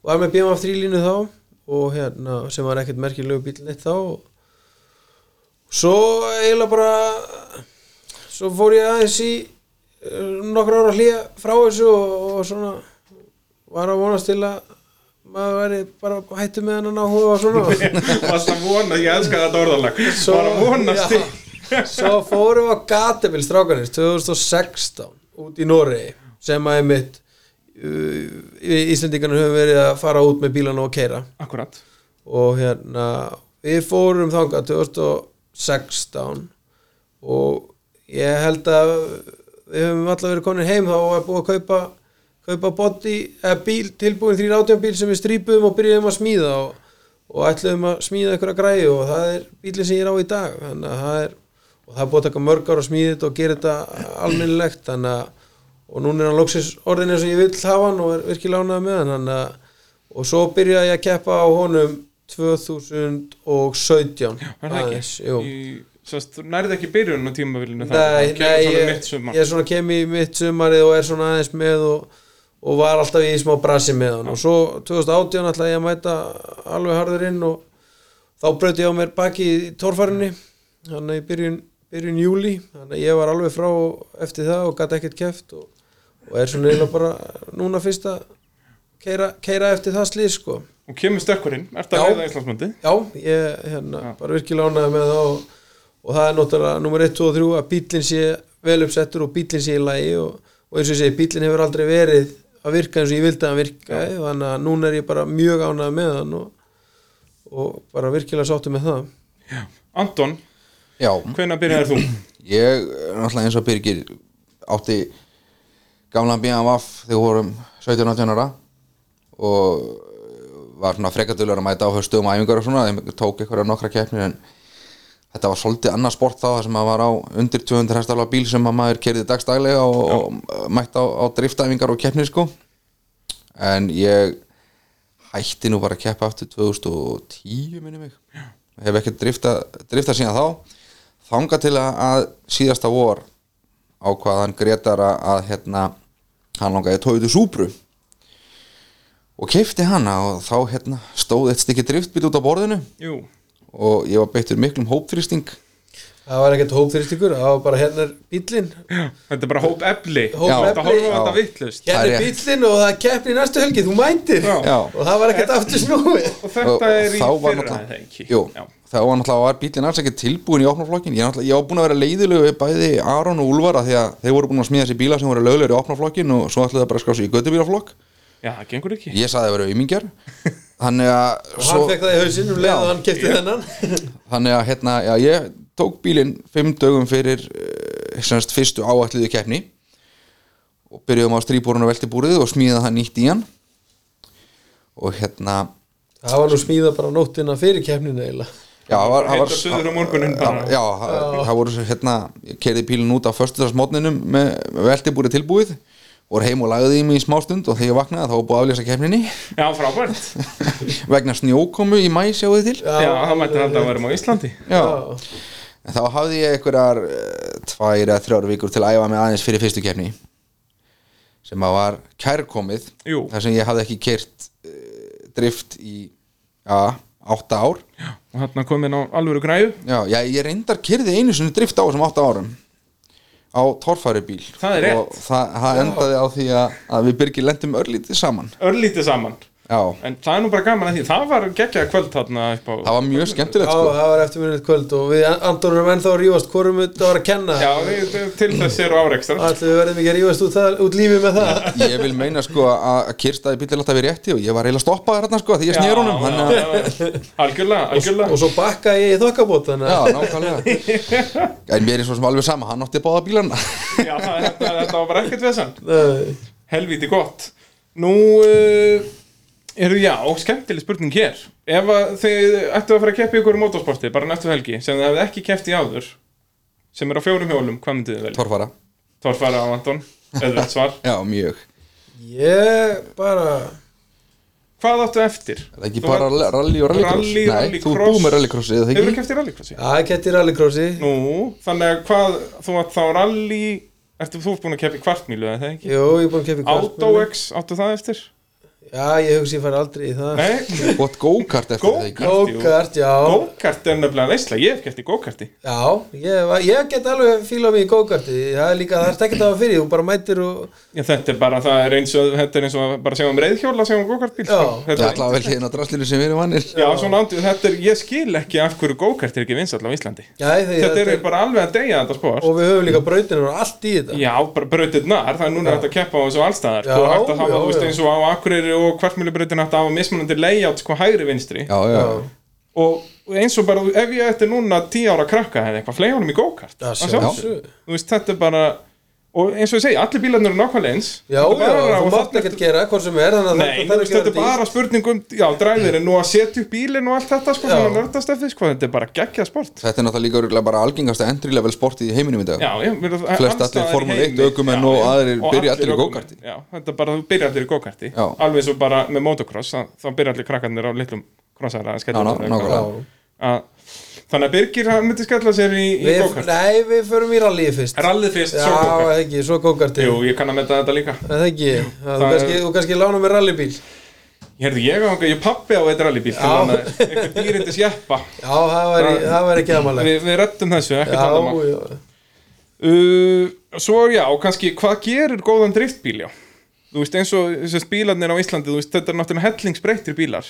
Speaker 3: og var með BMF 3 línu þá og hérna sem var ekkert merkilegu bíl neitt þá og svo eiginlega bara svo fór ég aðeins í eh, nokkur ára hlýja frá þessu og, og svona var að vonast til að maður væri bara hættu með hennan áhuga og svona
Speaker 1: varst að vona, ég elska þetta orðalag
Speaker 3: Svo-
Speaker 1: Var að vonast til
Speaker 3: Já. Svo fórum við á Gatebil strákanins 2016 út í Noregi sem að einmitt uh, Íslendingarnir höfum verið að fara út með bílana og keira
Speaker 1: Akkurat
Speaker 3: og hérna við fórum þangað 2016 og ég held að við höfum alltaf verið konir heim þá er búið að kaupa kaupa body, eða bíl, tilbúin 318 bíl sem við strýpuðum og byrjuðum að smíða og, og ætluðum að smíða einhverja græju og það er bílið sem ég er á í dag þannig að það er, og það er búið að taka mörg ára að smíða þetta og gera þetta almennilegt þannig að, og núna er hann loksins orðin eins og ég vill hafa hann og er virkilega ánægð með hann þannig að, og svo byrjaði ég að keppa á honum 2017 Já,
Speaker 1: Var það
Speaker 3: jú.
Speaker 1: ekki? Í- Sest, nærði ekki byrjun á tímabilinu
Speaker 3: Nei,
Speaker 1: það
Speaker 3: nei
Speaker 1: kemur svona
Speaker 3: ég,
Speaker 1: mitt sumar
Speaker 3: ég svona kem í mitt sumarið og er svona aðeins með og, og var alltaf í smá brasi með hann og svo 2018 ætlaði ég að mæta alveg harður inn og þá bröti ég á mér baki í torfarinni hann að ég byrjun, byrjun júli þannig að ég var alveg frá eftir það og gæti ekkert keft og, og er svona eiginlega bara núna fyrst að keira, keira eftir það slið sko
Speaker 1: Og kemur stökkurinn, ertu
Speaker 3: Já.
Speaker 1: að reyða Íslandsmöndi?
Speaker 3: Já, ég hérna, bara virkilega ánægði með það og, og það er náttúrulega nummer 1, 2 og 3 að bílinn sé vel uppsettur og bílinn sé í lagi og, og eins og ég segi, bílinn hefur aldrei verið að virka eins og ég vildi að hann virka þannig að núna er ég bara mjög ánægði með hann og, og bara virkilega sáttu með það
Speaker 1: Anton,
Speaker 2: Já,
Speaker 1: hvenær byrjaðir þú?
Speaker 2: ég náttúrulega eins og Birgir átti gamla BMF þegar við vorum 17-18 ára og var svona frekadulur að mæta á höstum og æfingar og svona, þeim tók eitthvað nokkra keppnir en þetta var svolítið annað sport þá þar sem maður var á undir 200 hestafla bíl sem að maður kerði dagstaglega og, og mætt á, á driftæfingar og keppnir sko en ég hætti nú bara að keppa aftur 2010 minni mig hef ekki drifta, drifta síðan þá þanga til að, að síðasta vor ákvaðan Gretar að, að hérna, hann langaði tóðu súbru og keipti hana og þá hérna, stóð eitt stykki driftbíl út á borðinu
Speaker 1: Jú,
Speaker 2: og ég var beittur miklum hópþrýsting
Speaker 3: Það var ekkert hópþrýstingur, það var bara hérna er bílinn
Speaker 1: þetta er bara hóp efli
Speaker 3: Hóp
Speaker 1: Þú ert að
Speaker 3: efli.
Speaker 1: horfa á þetta
Speaker 2: Já.
Speaker 1: vittlust
Speaker 2: Það
Speaker 3: hérna
Speaker 2: er
Speaker 3: er
Speaker 2: rétt.
Speaker 3: bílinn og það er keppni í næstu helgi, þú mæntir
Speaker 1: Já.
Speaker 2: Já.
Speaker 3: og það var ekkert aftur snúið
Speaker 1: Og þetta
Speaker 2: Og- og
Speaker 1: er í
Speaker 2: þá var
Speaker 1: fyrra,
Speaker 2: náttúrulega-
Speaker 1: það ekki
Speaker 2: Jú,
Speaker 1: Já.
Speaker 2: þá var náttúrulega var bílinn alls ekki tilbúin í opnaflokkin ég, náttúrulega- ég var búin að vera leiðilegu við bæði Aron og Úlfara því að þeir voru búin að smíða þessi bíla sem voru lögulegur í opnaflokkin og svo ætlaði það bara að skrá sig í göttubílaflokk
Speaker 1: Já, það gengur ekki
Speaker 2: ég saði að vera aumingar þannig að
Speaker 3: og
Speaker 2: svo-
Speaker 3: hann fekk það í hausinn um leið og hann kefti þennan
Speaker 2: þannig að hérna, já, ég tók bílinn fimm dögum fyrir eh, semst, fyrstu áalliðu keppni og byrjuðum á stríbúrun og veltibúrið og smíða það nýtt í hann og hérna
Speaker 3: það var nú smíða bara nóttina fyrir keppninu eiginlega
Speaker 2: já, það var, það
Speaker 1: Heitt
Speaker 2: var,
Speaker 1: og suður á morgunin bara.
Speaker 2: já, það, það voru svo, hérna, ég kerði bílinn út á föstudagsmótninum með með veltibúrið tilbúið voru heim og lagði í mig í smástund og þegar ég vaknaði þá var búið að aflýsa keppninni
Speaker 1: Já, frábært
Speaker 2: vegna snjókomu í mæ sjáu þið til
Speaker 1: Já, það mætti halda að verðum á Íslandi
Speaker 2: já, En þá hafði ég einhverjar eh, tvær eða þrjár vikur til að æfa mig aðeins fyrir fyrstu kefni sem að var kærkomið
Speaker 1: Jú.
Speaker 2: þar sem ég hafði ekki kert uh, drift í ja, átta ár
Speaker 1: Já, og hann kom inn á alvöru græðu
Speaker 2: já, já, ég reyndar kyrði einu sinni drift á þessum átta árum á torfærubíl
Speaker 1: Það er
Speaker 2: og það, það endaði á því að, að við byrgir lendum örlítið saman
Speaker 1: Örlítið saman
Speaker 2: já,
Speaker 1: En það er nú bara gaman að því, það var geggjað kvöld þarna upp á
Speaker 2: það var mjög
Speaker 3: Já,
Speaker 2: skemmtilegt sko.
Speaker 3: það var eftirminnið kvöld og við Andor erum ennþá að rífast hvorum þetta var að kenna
Speaker 1: Já, við, til þess eru árekstra
Speaker 3: Ætli við verðum ekki að rífast út, það, út lífið með það
Speaker 2: ég vil meina sko að kyrstaði bíl er alltaf við rétti og ég var eiginlega stoppaður hérna sko því ég snýr honum þannig að
Speaker 1: já, já. Algjörlega, algjörlega
Speaker 3: og svo bakka ég í þokkabót þannig
Speaker 2: Já,
Speaker 3: að
Speaker 2: nákvæmlega En mér er svo sem alveg sama, hann átti báða bílarna
Speaker 1: Já, það- þetta, þetta var bara ekkert vesan
Speaker 3: Nei.
Speaker 1: Helvíti gott Nú uh, eru já, skemmtileg spurning hér Ef að þið ættu að fara að keppa í ykkur motorsporti bara næstu helgi sem þið hefði ekki keppt í áður sem er á fjórum hjólum, hvað myndið þið vel?
Speaker 2: Torfara,
Speaker 1: Torfara á Anton, öðvöld svar
Speaker 2: já, mjög
Speaker 3: ég bara
Speaker 1: Hvað áttu eftir?
Speaker 2: Er það ekki
Speaker 1: Þú
Speaker 2: bara
Speaker 1: var-
Speaker 2: rally og rallycross?
Speaker 1: Rally,
Speaker 2: Nei, þú er
Speaker 1: rallycross.
Speaker 2: búið með rallycross, eða það
Speaker 1: Hefur
Speaker 2: ekki?
Speaker 1: keppt í rallycrossi?
Speaker 3: að ég ketti rallycrossi
Speaker 1: Nú, þannig að hvað, þú átt þá rally Ertu þú búin að keppa í kvartmílu eða það ekki?
Speaker 3: Jú, ég er búin að keppi
Speaker 1: Autox, áttu það eftir?
Speaker 3: Já, ég hugsi ég fari aldrei í það
Speaker 1: Nei,
Speaker 2: Gott go-kart eftir það ekki?
Speaker 3: Go-kart, já
Speaker 1: Go-kart er nefnilega veistla, ég hef keppt í go-karti
Speaker 3: Já, ég, var- ég get alveg fíla mig í go-karti Það er líka, það er ekki það fyrir Þú bara mætir og
Speaker 1: Já, þetta er bara, það er eins og, þetta er eins og að bara sjá um reyðhjóla, sjá um go-kartbíl
Speaker 3: Já.
Speaker 1: sko.
Speaker 2: Það er
Speaker 1: Þetta er-
Speaker 2: alltaf vel hérna drastlinu sem við erum vannir
Speaker 1: Já, svona andið, þetta er, ég skil ekki af hverju go-kart er ekki vinsall á Íslandi
Speaker 3: Já, því,
Speaker 1: Þetta er bara alveg að deyja þetta spór
Speaker 3: Og við höfum líka brautinu og allt í þetta
Speaker 1: Já, bara brautirnar, það er núna hægt að keppa á þessu allstaðar
Speaker 3: Já,
Speaker 1: Þú hægt að hafa,
Speaker 3: já,
Speaker 1: þú veist,
Speaker 3: já.
Speaker 1: eins og á Akureyri og kvartmjölubrautin hægt að hafa mismunandi layout, sko, hægri vinstri
Speaker 2: Já, já,
Speaker 1: Og eins og bara, ef ég ætti núna 10 ára krakka eða eitthvað, flegi honum í go-kart
Speaker 3: Já,
Speaker 1: Að
Speaker 3: sjálfsögðu.
Speaker 1: sjálfsögðu. Þú veist, þetta er bara Og eins og ég segi, allir bílarnir eru nákvæmlega eins
Speaker 3: Já,
Speaker 1: Þetta er
Speaker 3: já,
Speaker 1: bara-
Speaker 3: þú
Speaker 1: og
Speaker 3: mátt
Speaker 1: þarna
Speaker 3: ekkert gera hvað sem er Þannig að
Speaker 1: Nei,
Speaker 3: þetta
Speaker 1: þú
Speaker 3: þarf
Speaker 1: veist, þetta
Speaker 3: ekki að
Speaker 1: er
Speaker 3: vera dýrt.
Speaker 1: bara spurningum, já, dræðirinn og að setja upp bílinn og allt þetta, sko,
Speaker 3: Já.
Speaker 1: svona nördastefið, sko, þetta er bara geggjað sport.
Speaker 2: þetta er náttúrulega líka örugglega bara algengasta entry level sportið í heiminum í dag
Speaker 1: Já, ég vil að...
Speaker 2: Flest allir Formule 1 ökumenn og aðrir byrja allir í go-karti.
Speaker 1: Já, þetta er bara, þú byrja allir í go-karti,
Speaker 2: Já.
Speaker 1: alveg eins og bara með motocross, þá- þá byrja allir krakkarnir á litlum krossara að skella
Speaker 2: Já, ná-
Speaker 1: sér eitthvað.
Speaker 2: nákvæmlega.
Speaker 3: Já.
Speaker 1: Að- Þannig að Birgir, hann myndi skella sér í, í
Speaker 3: Við,
Speaker 1: go-kart.
Speaker 3: nei, við förum í rallið fyrst
Speaker 1: Rallið fyrst,
Speaker 3: Já,
Speaker 1: svo
Speaker 3: það
Speaker 1: go-kart.
Speaker 3: ekki, svo go-karti
Speaker 1: Jú, ég kann að metta þetta líka.
Speaker 3: Það ekki, það þú
Speaker 1: Það er-
Speaker 3: kannski, þú kannski lána mér rallybíl Já,
Speaker 1: Hérðu, ég á ég pappi á eitt rallybíl til
Speaker 3: Já.
Speaker 1: hann að eitthvað dýrindis jeppa.
Speaker 3: það væri,
Speaker 1: Það-
Speaker 3: það væri ekki aðmálega
Speaker 1: Við, við rettum þessu, ekkert annað mál.
Speaker 3: Já, já
Speaker 1: Uh, svo já, og kannski hvað gerir góðan driftbíl, já Þú veist eins og þessast bílarnir á Íslandi þú veist, þetta er náttúrulega hellingsbreyttir bílar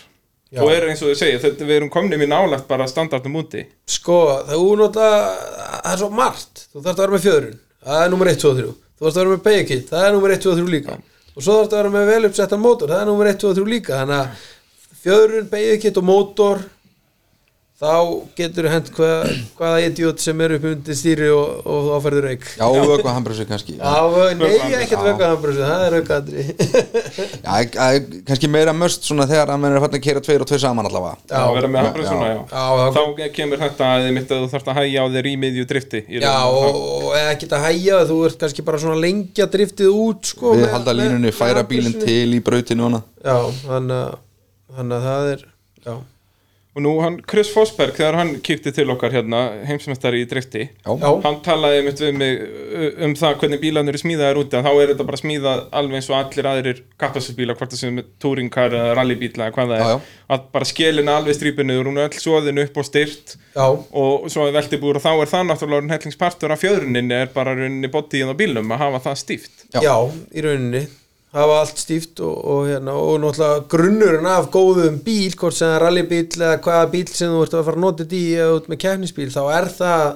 Speaker 3: Já.
Speaker 1: og er eins og þau segja, þetta, við erum komnum í nálægt bara standartum úti
Speaker 3: Sko, það únota það er svo margt, þú þarfst að vera með fjöðrun það er nummer 1, 2 og 3, þú þarfst að vera með beigakit það er nummer 1, 2 og 3 líka og svo þarfst að vera með vel uppsettan mótor, það er nummer 1, 2 og 3 líka þannig að fjöðrun, beigakit og mótor þá getur hent hva, hvaða idiot sem er upp undir stýri og, og þá færður auk
Speaker 2: Já, vöku hambrössu kannski
Speaker 3: Já,
Speaker 2: Já,
Speaker 3: nei, ekkert
Speaker 2: Já.
Speaker 3: vöka hambrúsi, það er aukaðri
Speaker 2: það er kannski meira möst svona þegar að menn er farin að keira tveir og tveir saman allavega
Speaker 3: Já.
Speaker 1: að vera með
Speaker 2: Já,
Speaker 1: hafbrið svona,
Speaker 2: já.
Speaker 1: já,
Speaker 3: Já, já.
Speaker 1: Þá kemur þetta að þið mitt að þú þarft að hægja á þér í miðju drifti í
Speaker 3: Já,
Speaker 1: raun
Speaker 3: og, og eða ekkert að hægja þú ert kannski bara svona lengja driftið út sko,
Speaker 2: Við
Speaker 3: með-
Speaker 2: halda
Speaker 3: með-
Speaker 2: línunni,
Speaker 3: með
Speaker 2: færa bílinn
Speaker 3: handbremsunni.
Speaker 2: til í brautinu og annað.
Speaker 3: Já, hann að, hann að það er Já,
Speaker 1: og nú hann Chris Fosberg, þegar hann kíkti til okkar hérna, heimsmeistari í drifti
Speaker 3: já,
Speaker 1: hann talaði mitt við mig uh, um það hvernig bílarnir eru smíðaðar úti en þá er þetta bara smíðað alveg eins og allir aðrir kappassinsbílar, hvort það sem er touringkar eða rallybíla eða hvað það er
Speaker 2: Já, já.
Speaker 1: að bara skelina alveg strípinu og hún er öll svoðin upp og styrt
Speaker 3: já,
Speaker 1: og svo er veltibúr og þá er það náttúrulega orðinn hellingspartur af fjöðruninni er bara runni bodyið á bílum að hafa það stíft
Speaker 2: Já.
Speaker 3: já, í rauninni það var allt stíft og, og hérna og náttúrulega grunnurinn af góðum bíl hvort sem það er rallybíl eða hvaða bíl sem þú ert að fara að nota þetta í eða út með keppnisbíl þá er það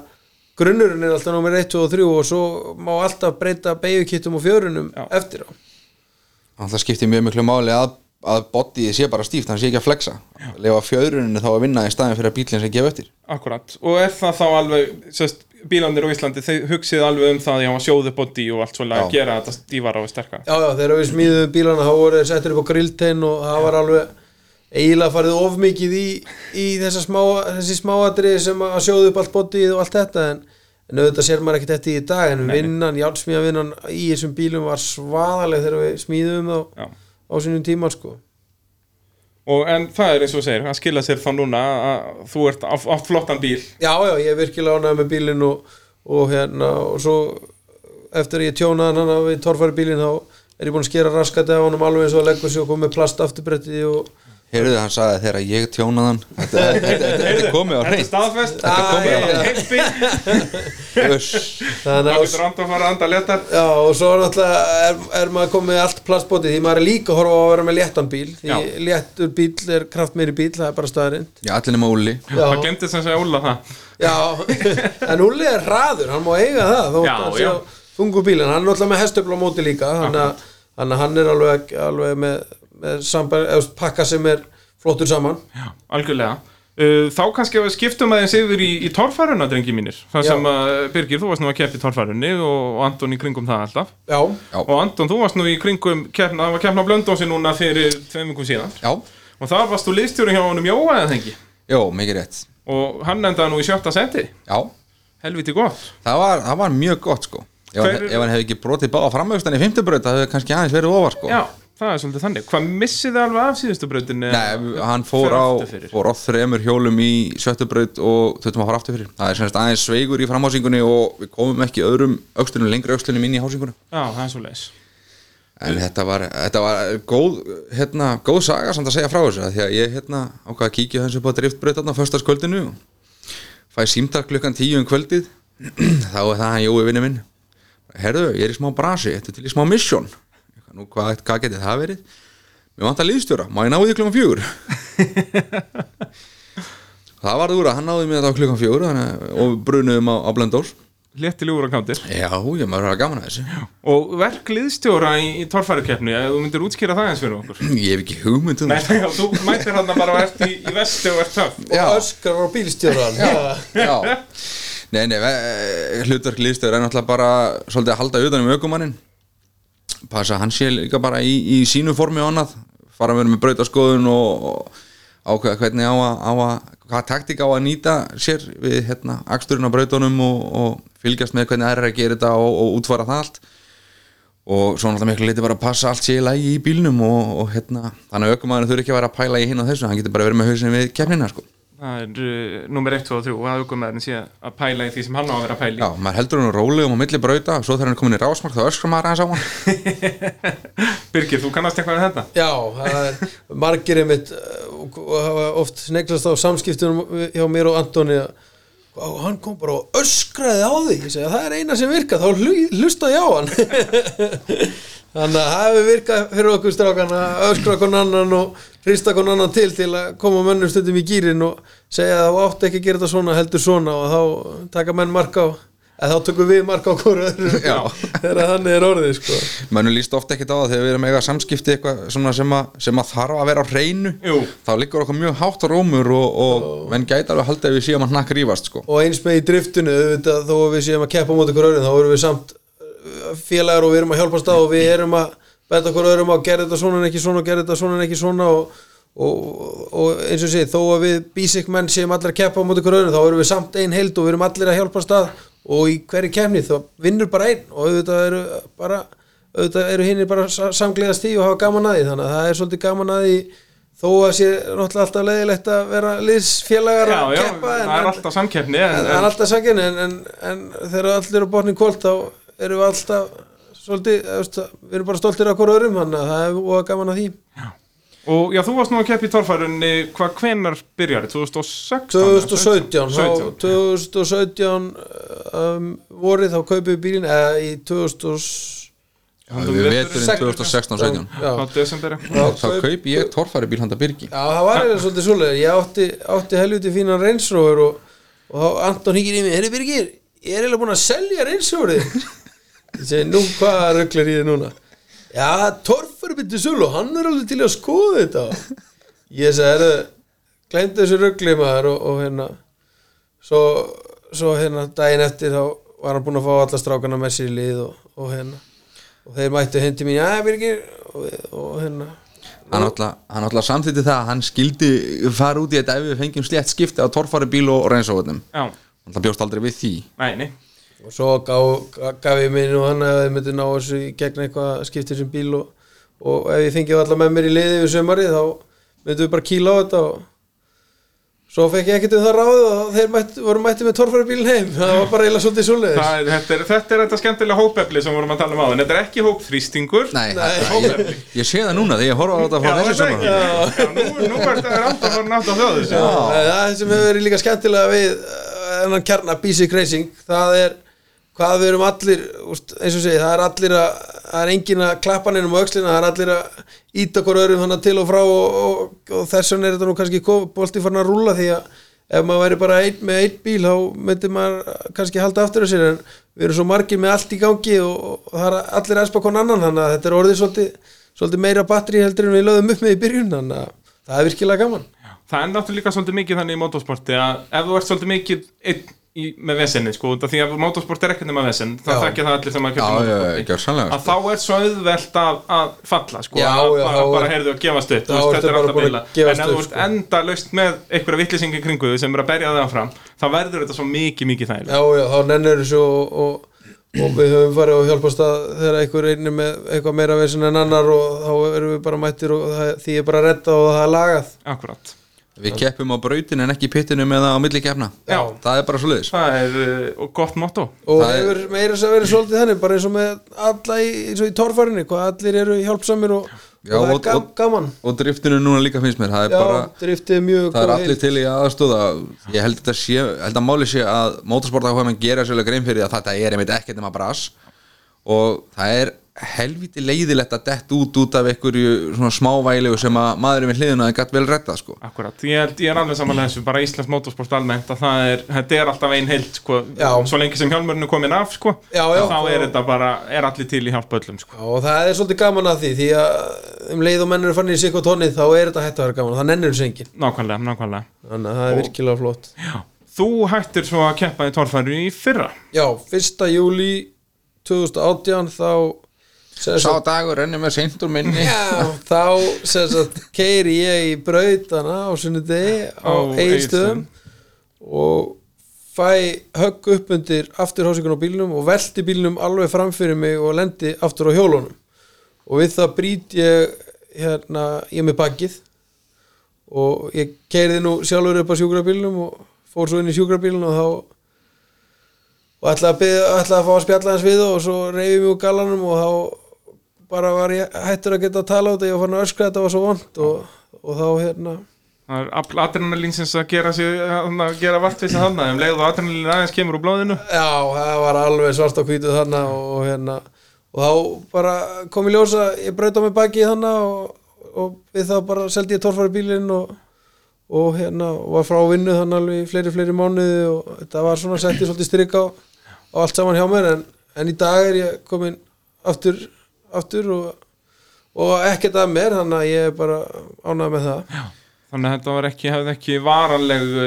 Speaker 3: grunnurinn er alltaf nummer 1, 2 og 3 og svo má alltaf breyta beigukittum og fjörunum
Speaker 1: Já.
Speaker 3: eftir á
Speaker 2: Það skiptir mjög miklu máli að að bodyið sé bara stíft, hann sé ekki að flexa lefa fjöðruninu þá að vinna í staðin fyrir að bílinn sem gefa eftir
Speaker 1: Akkurat, og er það þá alveg sest, bílandir á Íslandi, þeir hugsið alveg um það já, að sjóðu bóti og allt svolítið að
Speaker 2: Já.
Speaker 1: gera þetta stífara og sterkara
Speaker 3: Já, já, þegar við smíðum bílana þá voru þeir settur upp á grilltein og það var alveg eiginlega farið of mikið í, í þessa smá, þessi smáatri sem að sjóðu upp allt bótið og allt þetta en, en auðvitað sér maður ekkert þetta í dag en vinnan, jálsmíðavinnan í þessum bílum var svaðaleg þegar við smíðum þá
Speaker 1: Já.
Speaker 3: á sínum tíma sko.
Speaker 1: og, En það er eins og þú segir, að skila sér þá núna að- að þú ert á, á flottan bíl
Speaker 3: Já, já, ég er virkilega ánægð með bílinn og, og hérna og svo eftir að ég tjónaði hann við torfari bílinn þá er ég búin að skera raskati af honum alveg eins og að leggur sig og komið plast afturbretti og
Speaker 2: Heyrðu hann sagði þegar ég tjónaði hann Þetta, þetta, þetta, þetta er komið á
Speaker 1: Þetta er
Speaker 2: hreint
Speaker 1: staðfest,
Speaker 3: Þetta er komið á
Speaker 1: þetta er
Speaker 3: hreint.
Speaker 1: heilt bíl
Speaker 2: Uss.
Speaker 3: þannig
Speaker 1: Það
Speaker 3: að
Speaker 1: getur rand að fara að anda letar
Speaker 3: Já, og svo er náttúrulega er, er maður komið með allt plastbótið því maður er líka að horfa á að vera með léttan bíl því
Speaker 1: Já.
Speaker 3: léttur bíl er kraftmeiri bíl, það er bara staðarind
Speaker 2: Já, allir nema Úli
Speaker 3: Já,
Speaker 1: Það glemdi sem segja Óla það
Speaker 3: já en Ulli er hraður, hann má eiga það þó
Speaker 1: Já,
Speaker 3: hann
Speaker 1: já.
Speaker 3: þungu bílin, hann er náttúrulega með hestöfla á móti líka þannig að- þannig að hann er alveg, alveg með, með sambar, eða, pakka sem er flottur saman
Speaker 1: Já, algjörlega Uh, Þá kannski að við skiptum aðeins yfir í, í torfæruna, drengi mínir Það
Speaker 3: Já.
Speaker 1: sem að, Birgir, þú varst nú að keppa í torfærunni og, og Anton í kringum það alltaf
Speaker 3: Já,
Speaker 2: Já.
Speaker 1: Og Anton, þú varst nú í kringum keppna, það var keppna á Blöndósi núna fyrir tveim vikum síðan
Speaker 2: Já,
Speaker 1: Og þar varst þú liðstjóri hjá honum Jóa eða þengi
Speaker 2: já, mikið rétt
Speaker 1: Og hann endaði nú í sjötta seti
Speaker 2: Já,
Speaker 1: Helviti gott
Speaker 2: það var, það var mjög gott sko Ef hann,
Speaker 1: Hver eru-
Speaker 2: ef hann hefði ekki brotið báða framöfustan í fymtubraut það hefði kannski aðeins verið ofar sko
Speaker 1: Já, það er svolítið þannig Hvað missið þið alveg af síðustu brautinu?
Speaker 2: Nei, hann fór
Speaker 1: Fer
Speaker 2: á,
Speaker 1: aftur fyrir.
Speaker 2: fór á þremur hjólum í sjöttubraut og þautum að fara aftur fyrir Það er semst aðeins sveigur í framhásingunni og við komum ekki öðrum öxlunum, lengri öxlunum inn í hásinguna
Speaker 1: Já, það er svolítið
Speaker 2: En þetta var, þetta var góð, hérna, góð saga samt að segja frá þessu af Því að ég hérna ákvað að kíkja þessu upp á driftbraut þarna á föstaskvöldinu Fæ símtar klukkan tíu um kvöldið Þá er það hann Jói vinni minn Herðu, ég er í smá brasi, þetta er til í smá misjón Nú, hvað, hvað geti það verið? Mér vantar liðstjóra, má ég ná því klukkan fjögur? það var úr að hann náði mér þetta á klukkan fjögur þannig, að- og við brunuðum á, á blendós
Speaker 1: Léttil úr á kantir
Speaker 2: Já, ég maður er að gaman að þessu
Speaker 1: Og verk liðstjóra í, í torfærukeppni ef Þú myndir útskýra það eins fyrir okkur
Speaker 2: Ég hef ekki hugmynd um
Speaker 1: Nei,
Speaker 2: það
Speaker 1: já, þú mætir hann bara og ert í, í vesti og ert töff
Speaker 3: og
Speaker 2: Já.
Speaker 3: öskar á bílstjóran
Speaker 2: Já, nei, nei, ve- eh, hlutverk liðstöður er náttúrulega bara svolítið að halda utan um ökumannin passa að hann sé líka bara í, í sínu formi og annað, fara að vera með brautaskoðun og, og ákveða hvernig á að, á að hvað taktík á að nýta sér við hérna, aksturinn á brautunum og, og fylgjast með hvernig aðra er að gera þetta og, og útfara það allt og svo náttúrulega miklu leiti bara að passa allt sé í lagi í bílnum og, og hérna, þannig að ökumannin þurfi ekki að vera að pæla í hinn og þessu, hann getur bara verið með hausin við kefnina sko.
Speaker 1: Það er uh, nummer 1, 2 og 3 og að aukumæðurinn sé að pæla í því sem hann á að vera að pæla í
Speaker 2: Já, maður heldur hann rólegum á milli brauta og svo þegar hann er komin í rásmark þá öskrar maður aðeins á hann
Speaker 1: Birgir, þú kannast eitthvað við þetta?
Speaker 3: Já, það er margir einmitt uh, og hafa oft sneglast á samskiptunum hjá mér og Antoni að "Vá, hann kom bara og öskraði á því ég segi það er eina sem virkað, þá hlu- hlustaði ég á hann þannig að það hefur virkað fyrir okkur strákan að öskra kon annan og hrista kon annan til til að koma mönnum stundum í gýrin og segja að þú átt ekki að gera þetta svona heldur svona og þá taka menn marka á eða þá tökum við marka á hverju öðru
Speaker 2: Já.
Speaker 3: þegar þannig er orðið sko
Speaker 2: Mönnum líst ofta ekkit á það þegar við erum að eiga samskipti eitthvað svona sem að, sem að þarf að vera á hreinu
Speaker 1: Jú.
Speaker 2: þá liggur okkur mjög hátt rómur og, og menn gæti alveg haldið að við séum að hnakk rífast sko.
Speaker 3: og eins með í driftinu auðvitað, þó að við séum að keppa á móti okkur öðrum þá erum við samt uh, félagar og við erum að hjálpast á og
Speaker 1: Mm.
Speaker 3: við erum að benda okkur öðrum á að gera þetta svona en ekki svona og gera þetta svona en ekki svona og, og, og eins og segið þó að við bísik menn séum allir að keppa á móti okkur öðrum þá erum við samt ein heild og við erum allir að hjálpast að og í hverju kemni þá vinnur bara einn og auðvitað eru bara auðvitað eru hinnir bara sa- samgleðast í og hafa gaman að því þannig að það er svolítið gaman að því þó að sé náttúrulega alltaf leiðilegt að vera liðsfélagar
Speaker 1: Já,
Speaker 3: að
Speaker 1: já,
Speaker 3: keppa en-
Speaker 1: það er
Speaker 3: en-
Speaker 1: alltaf samkeppni en,
Speaker 3: En, það er
Speaker 1: en,
Speaker 3: alltaf sækinn en, en, en þegar allir eru botnið kvöld þá erum við alltaf svolítið, þú veist, við erum bara stoltir af hverju öðrum þannig að það er óa gaman að því
Speaker 1: og já, þú varst nú að keppa í torfærunni hvað hvenar byrjar? 2016?
Speaker 3: 2017
Speaker 1: 17.
Speaker 3: þá, 2017 um, vorið þá kaupið við bílinn eða í 2016
Speaker 2: við veturinn 2016-17
Speaker 3: já,
Speaker 1: á desember eitthvað.
Speaker 3: Já,
Speaker 2: þá kaupi ég torfæri bíl handa Birgi
Speaker 3: Já, það var eða svolítið svoleiðir. Ég átti, átti helviti fínan reynsróður og, og þá Anton hingir í mig, herri Birgir, ég er eiginlega búinn að selja reynsróður þig. Ég segi, nú hvað rugglar ég þig núna? Já, Torfur bytti sölu, hann er alveg til að skoða þetta Ég sagði, er glemdi þessu rugli maður og, og hérna svo, svo hérna daginn eftir þá var hann búinn að fá alla strákana með sér í lið og, og hérna og þeir mættu heim til mín, já, Birgir og, og hérna
Speaker 2: hann alltaf, hann alltaf samþýtti það að hann skildi fara út í þetta ef við fengjum slétt skipti á torfari bíl og reynsóðunum
Speaker 1: Já,
Speaker 2: hann bjóst aldrei við því
Speaker 1: nei, nei
Speaker 3: og svo gaf, gaf ég mér nú hann að þið myndi ná þessu í gegn eitthvað skiptir sem bíl og, og ef ég fengið alla með mér í liði yfir sömari þá myndum við bara kýla á þetta og svo fekk ég ekkert um það ráð og þeir mætt, voru mætti með torfæri bíl heim það var bara eiginlega svolítið svoleiðis
Speaker 1: Það er, þetta, er, þetta er þetta skemmtilega hópefli sem vorum að tala um áðan Þetta er ekki hópþrýstingur
Speaker 2: Nei,
Speaker 3: Nei.
Speaker 2: Nei. Ég, ég sé það núna þegar ég horfa á þetta frá þessu
Speaker 1: það
Speaker 2: saman
Speaker 1: Já, nú, nú er þetta rátt að voru nátt á sko. þjóðu
Speaker 3: Já, það sem hefur verið líka skemmtilega við eh, þennan kjarna basic racing það er hvað við erum allir úst, eins og segi, það er allir að það er engin að klappa neinum á öxlina það er allir að íta okkur öðrum þannig til og frá og, og, og þess vegna er þetta nú kannski bolti farin að rúlla því að ef maður væri bara ein, með einn bíl þá myndi maður kannski halda aftur af sér en við erum svo margir með allt í gangi og, og það er allir aðspa kon annan þannig að þetta er orðið svolítið, svolítið meira batteri heldur en við löðum upp með í byrjun þannig að það er virkilega gaman
Speaker 1: Það er náttúrulega líka svolítið mikið þannig í motorsporti að ef þú ert svolítið mikið einn í, með vesenni sko, út af því að motorsport er ekkert nema vesen það
Speaker 3: Já. sko.
Speaker 1: þekkja það allir sem að
Speaker 2: Já,
Speaker 1: kjöpa
Speaker 2: já,
Speaker 1: motorsporti
Speaker 2: gjörsamlega,
Speaker 1: að þá er svo auðvelt að, að falla sko,
Speaker 3: Já,
Speaker 1: að
Speaker 3: já,
Speaker 1: bara,
Speaker 3: þá
Speaker 1: bara
Speaker 3: er-
Speaker 1: heyrðu að gefast upp
Speaker 3: þá
Speaker 1: þú veist,
Speaker 3: ertu
Speaker 1: þetta er
Speaker 3: bara
Speaker 1: alltaf
Speaker 3: búin að
Speaker 1: bila en
Speaker 3: gefast
Speaker 1: ef þú
Speaker 3: upp,
Speaker 1: ert
Speaker 3: sko.
Speaker 1: enda laust með einhverja vittlisingi kringu þau sem er að berja það fram þá verður þetta svo mikið mikið þægilega
Speaker 3: Já, já, þá nennir þessu og, og, og við höfum farið og hjálpast að þegar einhver einni með eitthvað meira veginn en annar og þá erum við bara mættir og það, því er bara retta og það er lagað
Speaker 1: akkurat
Speaker 2: Við keppum á brautin en ekki í pittinum eða á milli keppna
Speaker 1: Já.
Speaker 2: Það er bara svo liðis
Speaker 1: það er uh, gott motto
Speaker 3: og
Speaker 2: Það er-
Speaker 3: hefur meira þess að vera svolítið þannig bara eins og með alla í, eins og í torfarinni hvað allir eru hjálpsamir og,
Speaker 2: Já,
Speaker 3: og það
Speaker 2: og-
Speaker 3: er gam,
Speaker 2: og-
Speaker 3: gaman
Speaker 2: Og driftinu núna líka finnst mér Það er
Speaker 3: Já,
Speaker 2: bara
Speaker 3: driftið mjög
Speaker 2: Það er
Speaker 3: góð
Speaker 2: allir
Speaker 3: heild.
Speaker 2: til í aðstóða Ég held að, sé, held að máli sé að motorsport áhuga menn gera sérlega grein fyrir að þetta er einmitt ekkert nema bras og það er helviti leiðilegt að dett út út af einhverju svona smávælegu sem að maðurinn við hliðina gætt vel retta sko
Speaker 1: akkurat, ég, held, ég er alveg samanlega þessu bara Íslands motorsport almennt að það er, þetta er alltaf ein heild sko,
Speaker 3: Já.
Speaker 1: svo lengi sem hjálmurinn er komin af sko,
Speaker 3: Já, já.
Speaker 1: þá er þetta bara er allir til í hjálpa öllum sko.
Speaker 3: Já, og það er svolítið gaman að því því að um leið og mennur fann í sig og tónið þá er þetta hætt að vera gaman, það nennir þessu engin
Speaker 1: nákvæmlega, nákvæmlega
Speaker 3: þannig að það er virkilega flott
Speaker 1: Já. Þú hættir svo að keppa í torfæru í fyrra
Speaker 3: Já, 1. júli 2018 þá sem
Speaker 2: Sá
Speaker 3: sagt,
Speaker 2: dagur rennir með seintur minni
Speaker 3: já, þá sem sagt, keiri ég í brautana á sunnudegi á
Speaker 1: Á
Speaker 3: eiginstöðum og fæ högg upp undir afturhásingun á bílnum og velti bílnum alveg framfyrir mig og lendi aftur á hjólunum og við það brýt ég hérna, ég er með bakið og ég keirði nú sjálfur upp á sjúkrabílnum og fór svo inn í sjúkrabílnum og þá og ætlaði að, bið, ætlaði að fá að spjalla hans við þá og svo reyfið mjög galanum og þá bara var ég hættur að geta að tala á þetta ég var farin að öskra þetta var svo vond og, og þá hérna
Speaker 1: Það er afl adrenalinsins að gera, sig, að gera vartvísa þannig um leið og adrenalin aðeins kemur úr blóðinu
Speaker 3: já, það var alveg svart á hvítu þarna og hérna og þá bara kom í ljósa ég braut á mig baki þarna og, og við þá bara seldi ég torfari bílinn og, og hérna og var frá vinnu þannig alveg í fleiri fleiri mánuði og þetta var svona settið svolítið strik á, á allt saman hjá mér en, en í dag er ég komin aftur, aftur og, og ekkert að mér þannig að ég er bara ánægð með það
Speaker 1: Þannig að þetta var ekki, hefði ekki varanleg uh,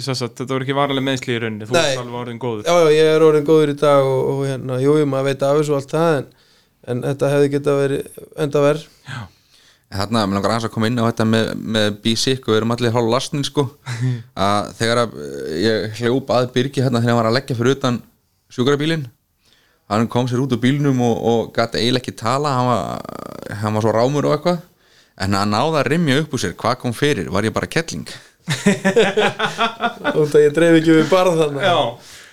Speaker 1: sem sagt, þetta var ekki varanleg meðsli í rauninni þú
Speaker 3: Nei.
Speaker 1: ert alveg orðin góður
Speaker 3: já, já, ég er orðin góður í dag og, og hérna, jú, jú, maður veit af þessu og allt það en, en þetta hefði geta verið enda verð
Speaker 2: Þarna, mér langar aðeins að koma inn á þetta með, með B-Sick og við erum allir hálf lastnir sko að þegar að eh, ég hljóp að Birgi hérna þegar hann var að leggja fyrir utan sjúkrabílinn hann kom sér út úr bílnum og, og gæti eiginlega ekki tala hann var, hann var svo rámur og eitthvað en hann náða að rimja upp úr sér hvað kom fyrir, var ég bara kettling
Speaker 3: og það ég dreif ekki við barð þannig
Speaker 1: Já,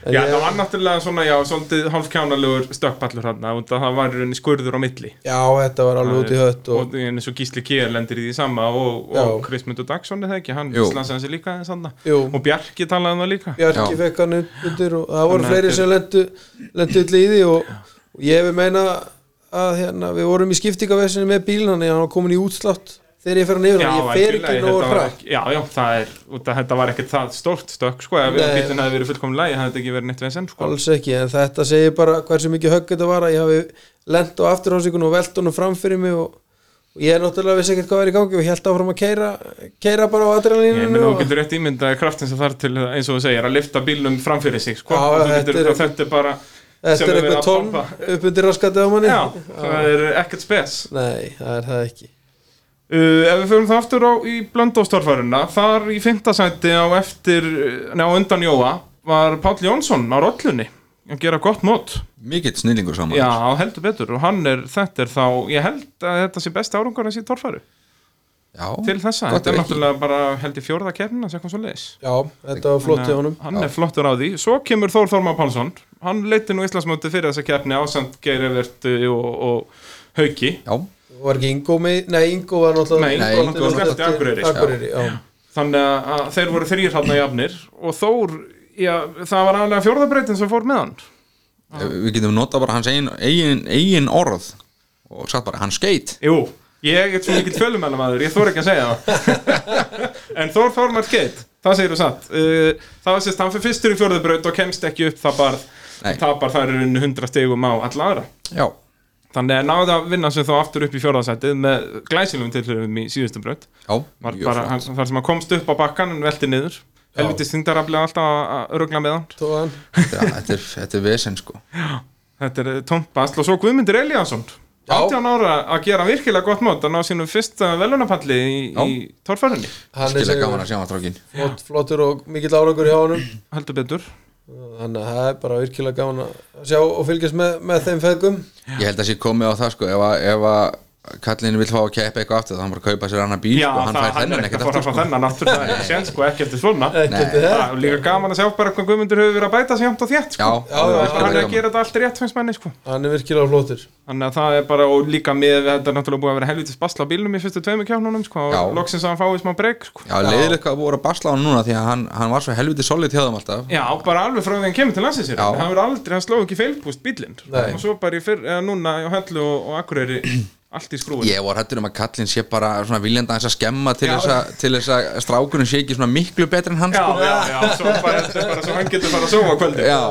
Speaker 3: En
Speaker 1: já
Speaker 3: ég-
Speaker 1: það var náttúrulega svona já, svolítið hálfkjánalugur stökkpallur hann að það var í rauninni skurður á milli
Speaker 3: Já, þetta var alveg út í hött og,
Speaker 1: og eins og Gísli Kier lendir í því sama og, og
Speaker 3: Já.
Speaker 1: Krismundur Dagsson er það ekki, hann
Speaker 2: Jú.
Speaker 1: slasaði sig líka aðeins þarna.
Speaker 3: Jú.
Speaker 1: og Bjarki talaði um það líka
Speaker 3: Bjarki
Speaker 2: Já.
Speaker 3: fekk hann undir og það
Speaker 1: Þannig
Speaker 3: voru
Speaker 1: að
Speaker 3: fleiri
Speaker 1: þetta er-
Speaker 3: sem lendu, lendu illa í því og, og ég vil meina að hérna, við vorum í skiptingavesinni með bílinn þannig að hann var komin í útslátt þegar ég fer hann yfir
Speaker 1: Já,
Speaker 3: hann, ég fer
Speaker 1: algjörlega,
Speaker 3: ekki nógu
Speaker 1: þetta var
Speaker 3: hratt
Speaker 1: ekki- Já, já, það er, út að þetta var ekkert það stórt stökk, sko, ef
Speaker 3: Nei.
Speaker 1: bílinn hefði verið fullkomlega lægi, það hefði þetta ekki verið neitt veginn, sko
Speaker 3: alls ekki, en þetta segir bara hversu mikið högg þetta var að ég hafi lent á afturhásíkun og velt honum framfyrir mig og, og ég er náttúrulega vissi ekkert hvað er í gangi og held áfram að keira, keira bara á
Speaker 1: Ég
Speaker 3: adrenalíninu
Speaker 1: meina þú
Speaker 3: og-
Speaker 1: getur rétt ímyndaði kraftin sem þar til eins og þú segir að lifta bílum framfyrir sig sko.
Speaker 3: Já,
Speaker 1: Og þú
Speaker 3: þetta
Speaker 1: getur,
Speaker 3: er-
Speaker 1: og þetta er bara
Speaker 3: Þetta
Speaker 1: sem
Speaker 3: er
Speaker 1: verið
Speaker 3: eitthvað
Speaker 1: að
Speaker 3: tón
Speaker 1: bomba.
Speaker 3: upp undir raskatið á manni
Speaker 1: Já, það er ekkert spes
Speaker 3: Nei, það er það ekki
Speaker 1: Uh, ef við fyrir það aftur á, í blöndóstorfaruna, þar í fintasæti á eftir, neða undan Jóa, var Páll Jónsson á rollunni að gera gott mót.
Speaker 2: Mikill snillingur saman
Speaker 1: Já, heldur betur og hann er, þetta er þá, ég held að þetta sé besti árangur hans í torfaru
Speaker 2: Já,
Speaker 1: til þessa.
Speaker 2: gott
Speaker 1: þetta er
Speaker 2: ef ekki.
Speaker 1: náttúrulega bara held í fjórða kefnina sem kom svo leis.
Speaker 3: Já, þetta var flott hjá honum
Speaker 1: Hann er flottur á því. Svo kemur Þór Þormar Pálsson, hann leiti nú Íslandsmóti fyrir þessa kefni ásamt Geirivert og, og Hauki.
Speaker 2: já,
Speaker 3: Var ekki Ingo með, nei Ingo var náttúrulega
Speaker 1: Nei,
Speaker 2: Ingo var
Speaker 3: Ingo
Speaker 1: náttúrulega
Speaker 3: náttúrulega
Speaker 1: Akureyri. sko.
Speaker 3: til Akureyri, já.
Speaker 1: þannig að- að þeir voru þrýr hann að jafnir og Þór, já, það var aðlega fjórðabreytin sem fór með hann
Speaker 2: Eh, við getum notað bara hans eigin, eigin, eigin orð og sagt bara, hann skeit
Speaker 1: Jú, ég er svo mikill fjölumælamaður ég þór ekki að segja það en Þór fór maður skeitt, það segir þú satt Uh, það var sérst, hann fyrir fyrstur í fjórðabraut og kemst ekki upp það barð
Speaker 2: Nei.
Speaker 1: tapar þær í rauninni 100 stegum á alla aðra
Speaker 2: Já,
Speaker 1: þannig að náða að vinna sem þá aftur upp í fjórðasætið með glæsilum tilhörum í síðustu braut
Speaker 2: já,
Speaker 1: var
Speaker 2: mjög
Speaker 1: bara,
Speaker 2: flott.
Speaker 1: hann, þar sem hann komst upp á bakkan en velti niður helvitist þingdaraflið alltaf að- að örugla með hann
Speaker 3: Tóðan
Speaker 2: Já, þetta er, þetta er vesen sko
Speaker 1: Þetta er tómt basl og svo Guðmundur Eliasson
Speaker 3: Já.
Speaker 1: 18 ára að gera virkilega gott mót að ná sínum fyrsta velunapalli í,
Speaker 2: Já.
Speaker 1: í torfærunni,
Speaker 3: Hann er
Speaker 2: Skilega gaman
Speaker 3: sem
Speaker 2: að sjá hann strákin
Speaker 3: flott, flottur og mikill árangur hjá honum
Speaker 1: heldur betur
Speaker 3: Þannig að það er bara virkilega gaman að sjá og fylgjast með, með þeim feðgum
Speaker 2: Ég held að sé komið á það sko ef að, ef að kallin vil fá að keppa eitthvað aftur þá hann bara að kaupa sér annan bíl
Speaker 1: Já,
Speaker 2: sko, hann
Speaker 1: það, hann
Speaker 2: fær
Speaker 1: er
Speaker 2: þennan
Speaker 1: ekki
Speaker 2: ekkert
Speaker 1: að fara
Speaker 2: aftur
Speaker 1: frá
Speaker 2: sko.
Speaker 1: þennan aftur það er séns sko ekki eftir svona
Speaker 3: Ekkert
Speaker 2: Nei.
Speaker 3: við það
Speaker 1: Það er líka gaman að sjá bara hvað Guðmundur hefur verið að bæta sig hjátt og þétt sko.
Speaker 2: Já,
Speaker 3: Já,
Speaker 1: Hann
Speaker 2: það
Speaker 3: já,
Speaker 1: er
Speaker 2: virkilega
Speaker 1: að
Speaker 2: gaman.
Speaker 1: gera þetta allt rétt fannst manni sko.
Speaker 3: Hann er virkilega flottur
Speaker 1: Þannig að það er bara og líka með þetta er náttúrulega búið að vera helvitist basla á bílnum í fyrstu tveimur kjánunum sko, og
Speaker 2: Já.
Speaker 1: loksins að hann fáið smá breyk sko.
Speaker 2: Já, leiðilega að voru að basla á hann núna því að hann, hann var svo helviti solid hjá þeim alltaf
Speaker 1: Já, bara alveg frá því hann kemur til landsins hérna.
Speaker 2: Já.
Speaker 1: hann verður aldrei, hann sló ekki feilpúst bílinn
Speaker 3: Nei.
Speaker 1: og svo bara í fyrr, eða núna á höllu og, og akureyri allt í skrúin
Speaker 2: Ég var hættur um að kallin sé bara svona viljandi aðeins að skemma til
Speaker 1: Já.
Speaker 2: þess að, til þess að strákurinn sé ekki svona miklu betri en hann
Speaker 1: Já,
Speaker 2: sko
Speaker 1: já, já, svo bara, þetta er bara svo hann getur fara að sofa á kvöldi
Speaker 2: Já,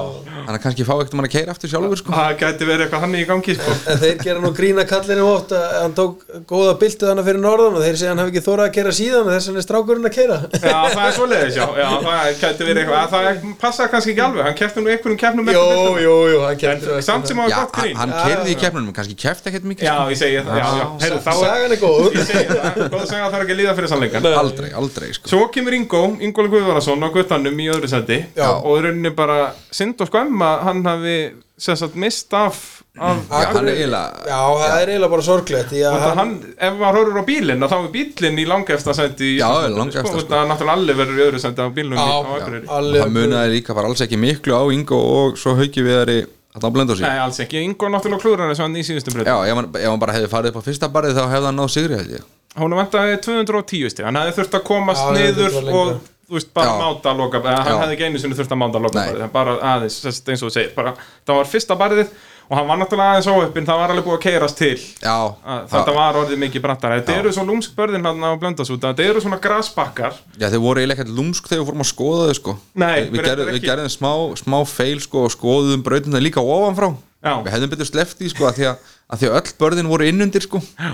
Speaker 2: hann kannski fá ekkert um hann að keira aftur sjálfur sko
Speaker 1: Það gæti verið eitthvað hann í gangi sko.
Speaker 3: En þeir gera nú grína kallinu oft að hann tók góða byltu þannig fyrir norðan og þeir segja hann hafi ekki þórað að kera síðan og þess vegna er strákurinn að kera
Speaker 1: Já, það er svoleiðis, já, já, það gæti verið eitthvað Það passa kannski ekki alveg, hann kefti nú einhverjum kefnum
Speaker 3: Jú, jú, jú, hann
Speaker 1: En
Speaker 3: kemur
Speaker 1: samt sem á
Speaker 2: Já,
Speaker 1: gott
Speaker 2: hann,
Speaker 1: grín
Speaker 2: hann keirði í keppnunum, kannski keft ekkert mikið
Speaker 1: Já,
Speaker 2: sko.
Speaker 1: ég segi það, já, já, heyrðu, þá er
Speaker 3: Sagan er góð
Speaker 1: Ég segi það, góð saga þarf ekki að líða fyrir sannleikan
Speaker 2: Aldrei, aldrei sko
Speaker 1: Svo kemur Ingo, Ingóla Guðvarason á guttanum í öðru seti
Speaker 3: Já.
Speaker 1: og í rauninni bara synd og skömm að hann hafi sem sagt mist af, af
Speaker 2: Já, hann er
Speaker 3: Akureyri-
Speaker 2: eiginlega-
Speaker 3: Já, það er eiginlega bara sorglegt Því
Speaker 1: og
Speaker 3: að
Speaker 1: það
Speaker 3: hann,
Speaker 1: hann, ef maður horfur á bílinn að þá er bílinn í langefsta seti í
Speaker 2: Já,
Speaker 1: Íslandsmótinu,
Speaker 2: langefsta,
Speaker 1: sko,
Speaker 2: sko.
Speaker 1: það er náttúrulega allir verður í öðru seti á bílnum
Speaker 3: Já,
Speaker 1: í, á Akureyri
Speaker 2: Og
Speaker 3: alveg
Speaker 2: það munaði líka bara alls ekki miklu á Ingo og svo hauki við þar í að blenda á sig
Speaker 1: Nei, alls ekki, Ingo náttúrulega klúrar þessu hann í síðustu breyt
Speaker 2: Já, ef hann, ef hann bara hefði farið upp á fyrsta barið þá hefði hann náð sigri held ég
Speaker 1: Hún vantaði 210 stig, hann hefði þurft að komast
Speaker 3: Já, hann hefði
Speaker 1: niður
Speaker 3: þurft að
Speaker 1: og
Speaker 3: lengra.
Speaker 1: þú veist, bara
Speaker 2: Já.
Speaker 1: máta að loka eða hann
Speaker 2: Já.
Speaker 1: hefði ekki einu sinni þurft að máta að loka
Speaker 2: Nei.
Speaker 1: barið, bara aðeins, sem sagt, eins og þú segir bara, það var fyrsta barðið og hann var náttúrulega aðeins óöppin, það var alveg búið að keirast til
Speaker 2: Já,
Speaker 1: að þetta
Speaker 2: það-
Speaker 1: var orðið mikið brattara þetta eru svo lúmsk börðin hann á blöndasúta þetta eru svona grasbakkar
Speaker 2: já þau voru eiginlega ekkert lúmsk þegar við fórum að skoða þau sko
Speaker 1: Nei,
Speaker 2: Við, við,
Speaker 1: reyndar
Speaker 2: gerðum, við
Speaker 1: ekki.
Speaker 2: gerðum smá, smá feil sko og skoðum brautina líka ofanfrá
Speaker 1: Já.
Speaker 2: Við hefðum betur sleppt því sko að því að, að því að öll börðin voru innundir sko
Speaker 3: Já,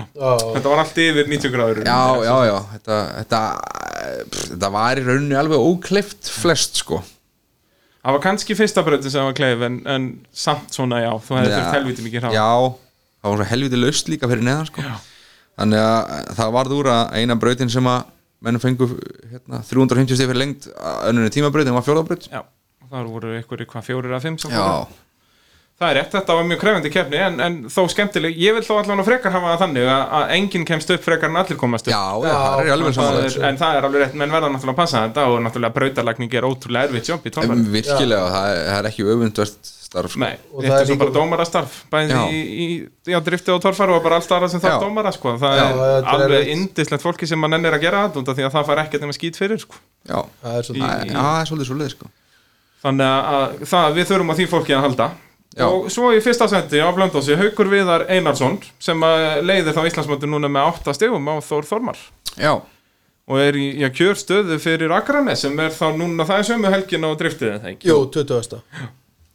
Speaker 1: þetta var allt yfir 90 gráður
Speaker 2: Já, já, já, þetta, þetta, pff, þetta var í rauninni alveg ókleift flest sko
Speaker 1: það var kannski fyrsta bröndin sem var kleif en, en samt svona já þú hefði þurft helviti mikið hrá
Speaker 2: Já, það var svo helviti laust líka fyrir neðan sko. Þannig að eh, það varð úr að eina brautin sem að mennum fengu hérna, 350 stig fyrir lengt önnunni tímabrautin var fjólabraut
Speaker 1: já þar voru ykkur í hvað fjórir að fimm sem voru.
Speaker 2: Já,
Speaker 1: það er rétt, þetta var mjög krefandi keppni en, en þó skemmtileg, ég vil þó allan að frekar hafa það þannig að, að enginn kemst upp frekar en allir komast upp
Speaker 2: já, já, það er
Speaker 1: Það er,
Speaker 2: alveg samanlega
Speaker 1: en það er alveg rétt, menn verða náttúrulega að passa þetta og náttúrulega brautalagning er ótrúlega erfitt jobb í tónfæri
Speaker 2: Virkilega, það er, það er ekki öfundvert starf sko.
Speaker 1: Nei,
Speaker 3: Og
Speaker 1: þetta
Speaker 3: það
Speaker 1: er
Speaker 3: er
Speaker 1: svo
Speaker 3: líka-
Speaker 1: bara dómarastarf bæði
Speaker 2: Já.
Speaker 1: í, í, í að drifti og torfæru og bara alls staðar sem það
Speaker 2: Já.
Speaker 1: er dómara sko. það
Speaker 3: Já, þetta
Speaker 1: er
Speaker 3: er
Speaker 1: alveg
Speaker 3: erfitt.
Speaker 1: indislegt fólki sem mann ennir að gera þetta út af því að það fær ekkert nema skýt fyrir sko.
Speaker 2: Já,
Speaker 3: það er svo
Speaker 1: Í-
Speaker 2: það er- já, það er svolítið svolítið sko.
Speaker 1: þannig að- að það, við þurfum að því fólki að halda
Speaker 2: Já.
Speaker 1: og svo í fyrsta sendi á Blöndósi Haukur Viðar Einarsson sem að leiði þá Íslandsmöndu núna með 8 stegum á Þór Þormar
Speaker 2: Já,
Speaker 1: og er í, í að kjör stöðu fyrir Akranes sem er þá núna, það er sömu helgin á driftið er það ekki?
Speaker 3: Jú, 20.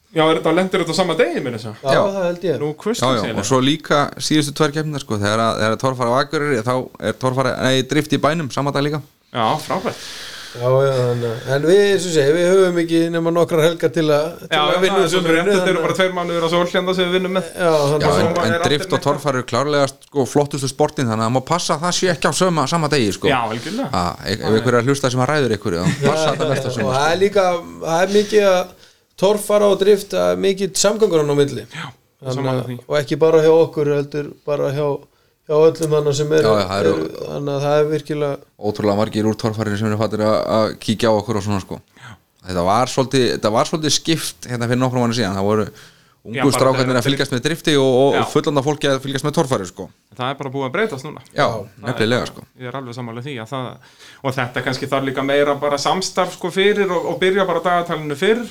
Speaker 1: Já, er þetta lendir þetta á sama degi, mér þess að
Speaker 3: Já,
Speaker 2: Já.
Speaker 3: það held ég
Speaker 1: Nú,
Speaker 2: Já, já,
Speaker 1: kvistins
Speaker 2: og svo líka síðustu tvær keppnir sko, þegar að, þegar að torfara á Akureyri þá er torfara, nei, drift í bænum saman dag líka
Speaker 1: Já, frábært
Speaker 3: Já, já, þannig að- En við, sem segja, við höfum ekki nema nokkrar helgar til að til
Speaker 1: Já,
Speaker 3: að
Speaker 1: já,
Speaker 3: vinna
Speaker 1: það er
Speaker 3: þessu
Speaker 1: svolítið rétt, þetta eru
Speaker 3: þannig að-
Speaker 1: bara tveir mánuður á sólhjanda sem við vinnum með
Speaker 3: Já, þannig
Speaker 2: Já,
Speaker 3: að-
Speaker 2: en,
Speaker 1: svo er
Speaker 2: en
Speaker 1: allir
Speaker 2: drift og
Speaker 1: með-
Speaker 2: torfara eru klárlega sko, flottustu sportin þannig að það má passa að það sé ekki á söma, sama degi sko.
Speaker 1: Já, algjörlega
Speaker 2: að, ef ef einhver er að hlusta sem að ræður ykkur þá passa þetta
Speaker 3: og
Speaker 2: besta sem
Speaker 3: það er líka það er mikið að torfara og drift það er mikið samgangur hann á milli já,
Speaker 1: sammála því.
Speaker 3: og ekki bara hjá okkur heldur bara hjá, hjá öllum hann sem eru
Speaker 2: Já, já, það eru-
Speaker 3: eru- þannig að það er virkilega
Speaker 2: ótrúlega margir úr torfarinu sem eru fattir að, að kíkja á okkur og svona sko þetta var svolítið, þetta var svolítið skipt hérna fyrir nokkrum manni síðan, það voru
Speaker 1: Já,
Speaker 2: ungu
Speaker 1: bara
Speaker 2: strákarnir
Speaker 1: þegar-
Speaker 2: að fylgjast með drifti og, og,
Speaker 1: Já.
Speaker 2: og fullanda fólki að fylgjast með torfari sko
Speaker 1: Það er bara búið að breytast núna
Speaker 2: já, nefnilega sko
Speaker 1: ég er alveg sammála því að það og þetta kannski þarf líka meira bara samstarf sko fyrir og, og byrja bara dagatalinu fyrr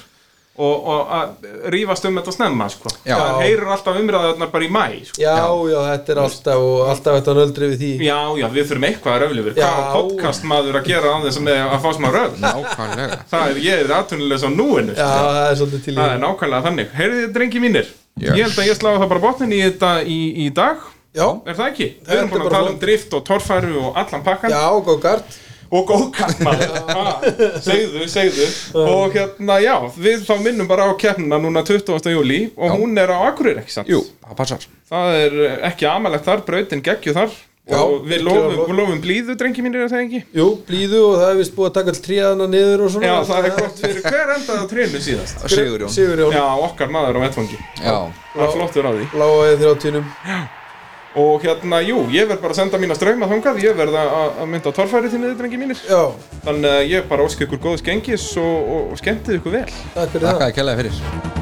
Speaker 1: og, og að rífast um þetta snemma sko
Speaker 2: Já.
Speaker 1: það heyrir alltaf umræðarnar bara í mæ sko.
Speaker 3: já, já, þetta er alltaf og alltaf þetta nöldri við því
Speaker 1: já, já, við þurfum eitthvað að röfli við
Speaker 3: Já.
Speaker 1: hvað á podcast maður að gera án þess að, að fá smá röfl
Speaker 2: nákvæmlega
Speaker 1: það er, ég er atvinnulegs á núinu sko.
Speaker 3: já, það er svolítið til í
Speaker 1: það er nákvæmlega þannig, heyrðu þið drengi mínir
Speaker 2: Yes.
Speaker 1: ég held að ég sláði það bara botnin í þetta í, í dag
Speaker 3: já,
Speaker 1: er það ekki?
Speaker 3: Þetta
Speaker 1: við erum búin að
Speaker 3: er bara
Speaker 1: tala um
Speaker 3: flott.
Speaker 1: drift og torfæru og allan pakkan
Speaker 3: já, góðgart
Speaker 1: og góðkart maður Ha, Ah, segðu, segðu og hérna já, við þá minnum bara á keppnina núna 20. júli og hún er á Akureyri ekki sant?
Speaker 2: jú, það passar
Speaker 1: það er eh, ekki amalegt þar, brautin geggju þar
Speaker 3: Já,
Speaker 1: og við
Speaker 3: algjörlega
Speaker 1: lofum,
Speaker 3: lof.
Speaker 1: við lofum blíðu drengi mínir er það ekki?
Speaker 3: jú, blíðu og það er vist búið að taka all tríðana niður og svona
Speaker 1: Já, það er gott fyrir hver endaði á trénu síðast
Speaker 2: Sigurjón,
Speaker 3: Sigurjón,
Speaker 1: Já, okkar maður á vettfangi
Speaker 2: já,
Speaker 1: Það er flottur á því
Speaker 3: lágaði þrjáttunum
Speaker 1: Og hérna, jú, ég verð bara að senda mína ströma þangað Ég verð að að mynda á torfæri þínu, drengi mínir
Speaker 3: já,
Speaker 1: Þannig að ég bara óska ykkur góðs gengis og, og, og skemmtið ykkur vel
Speaker 3: takk fyrir það
Speaker 2: þakkaði kælega fyrir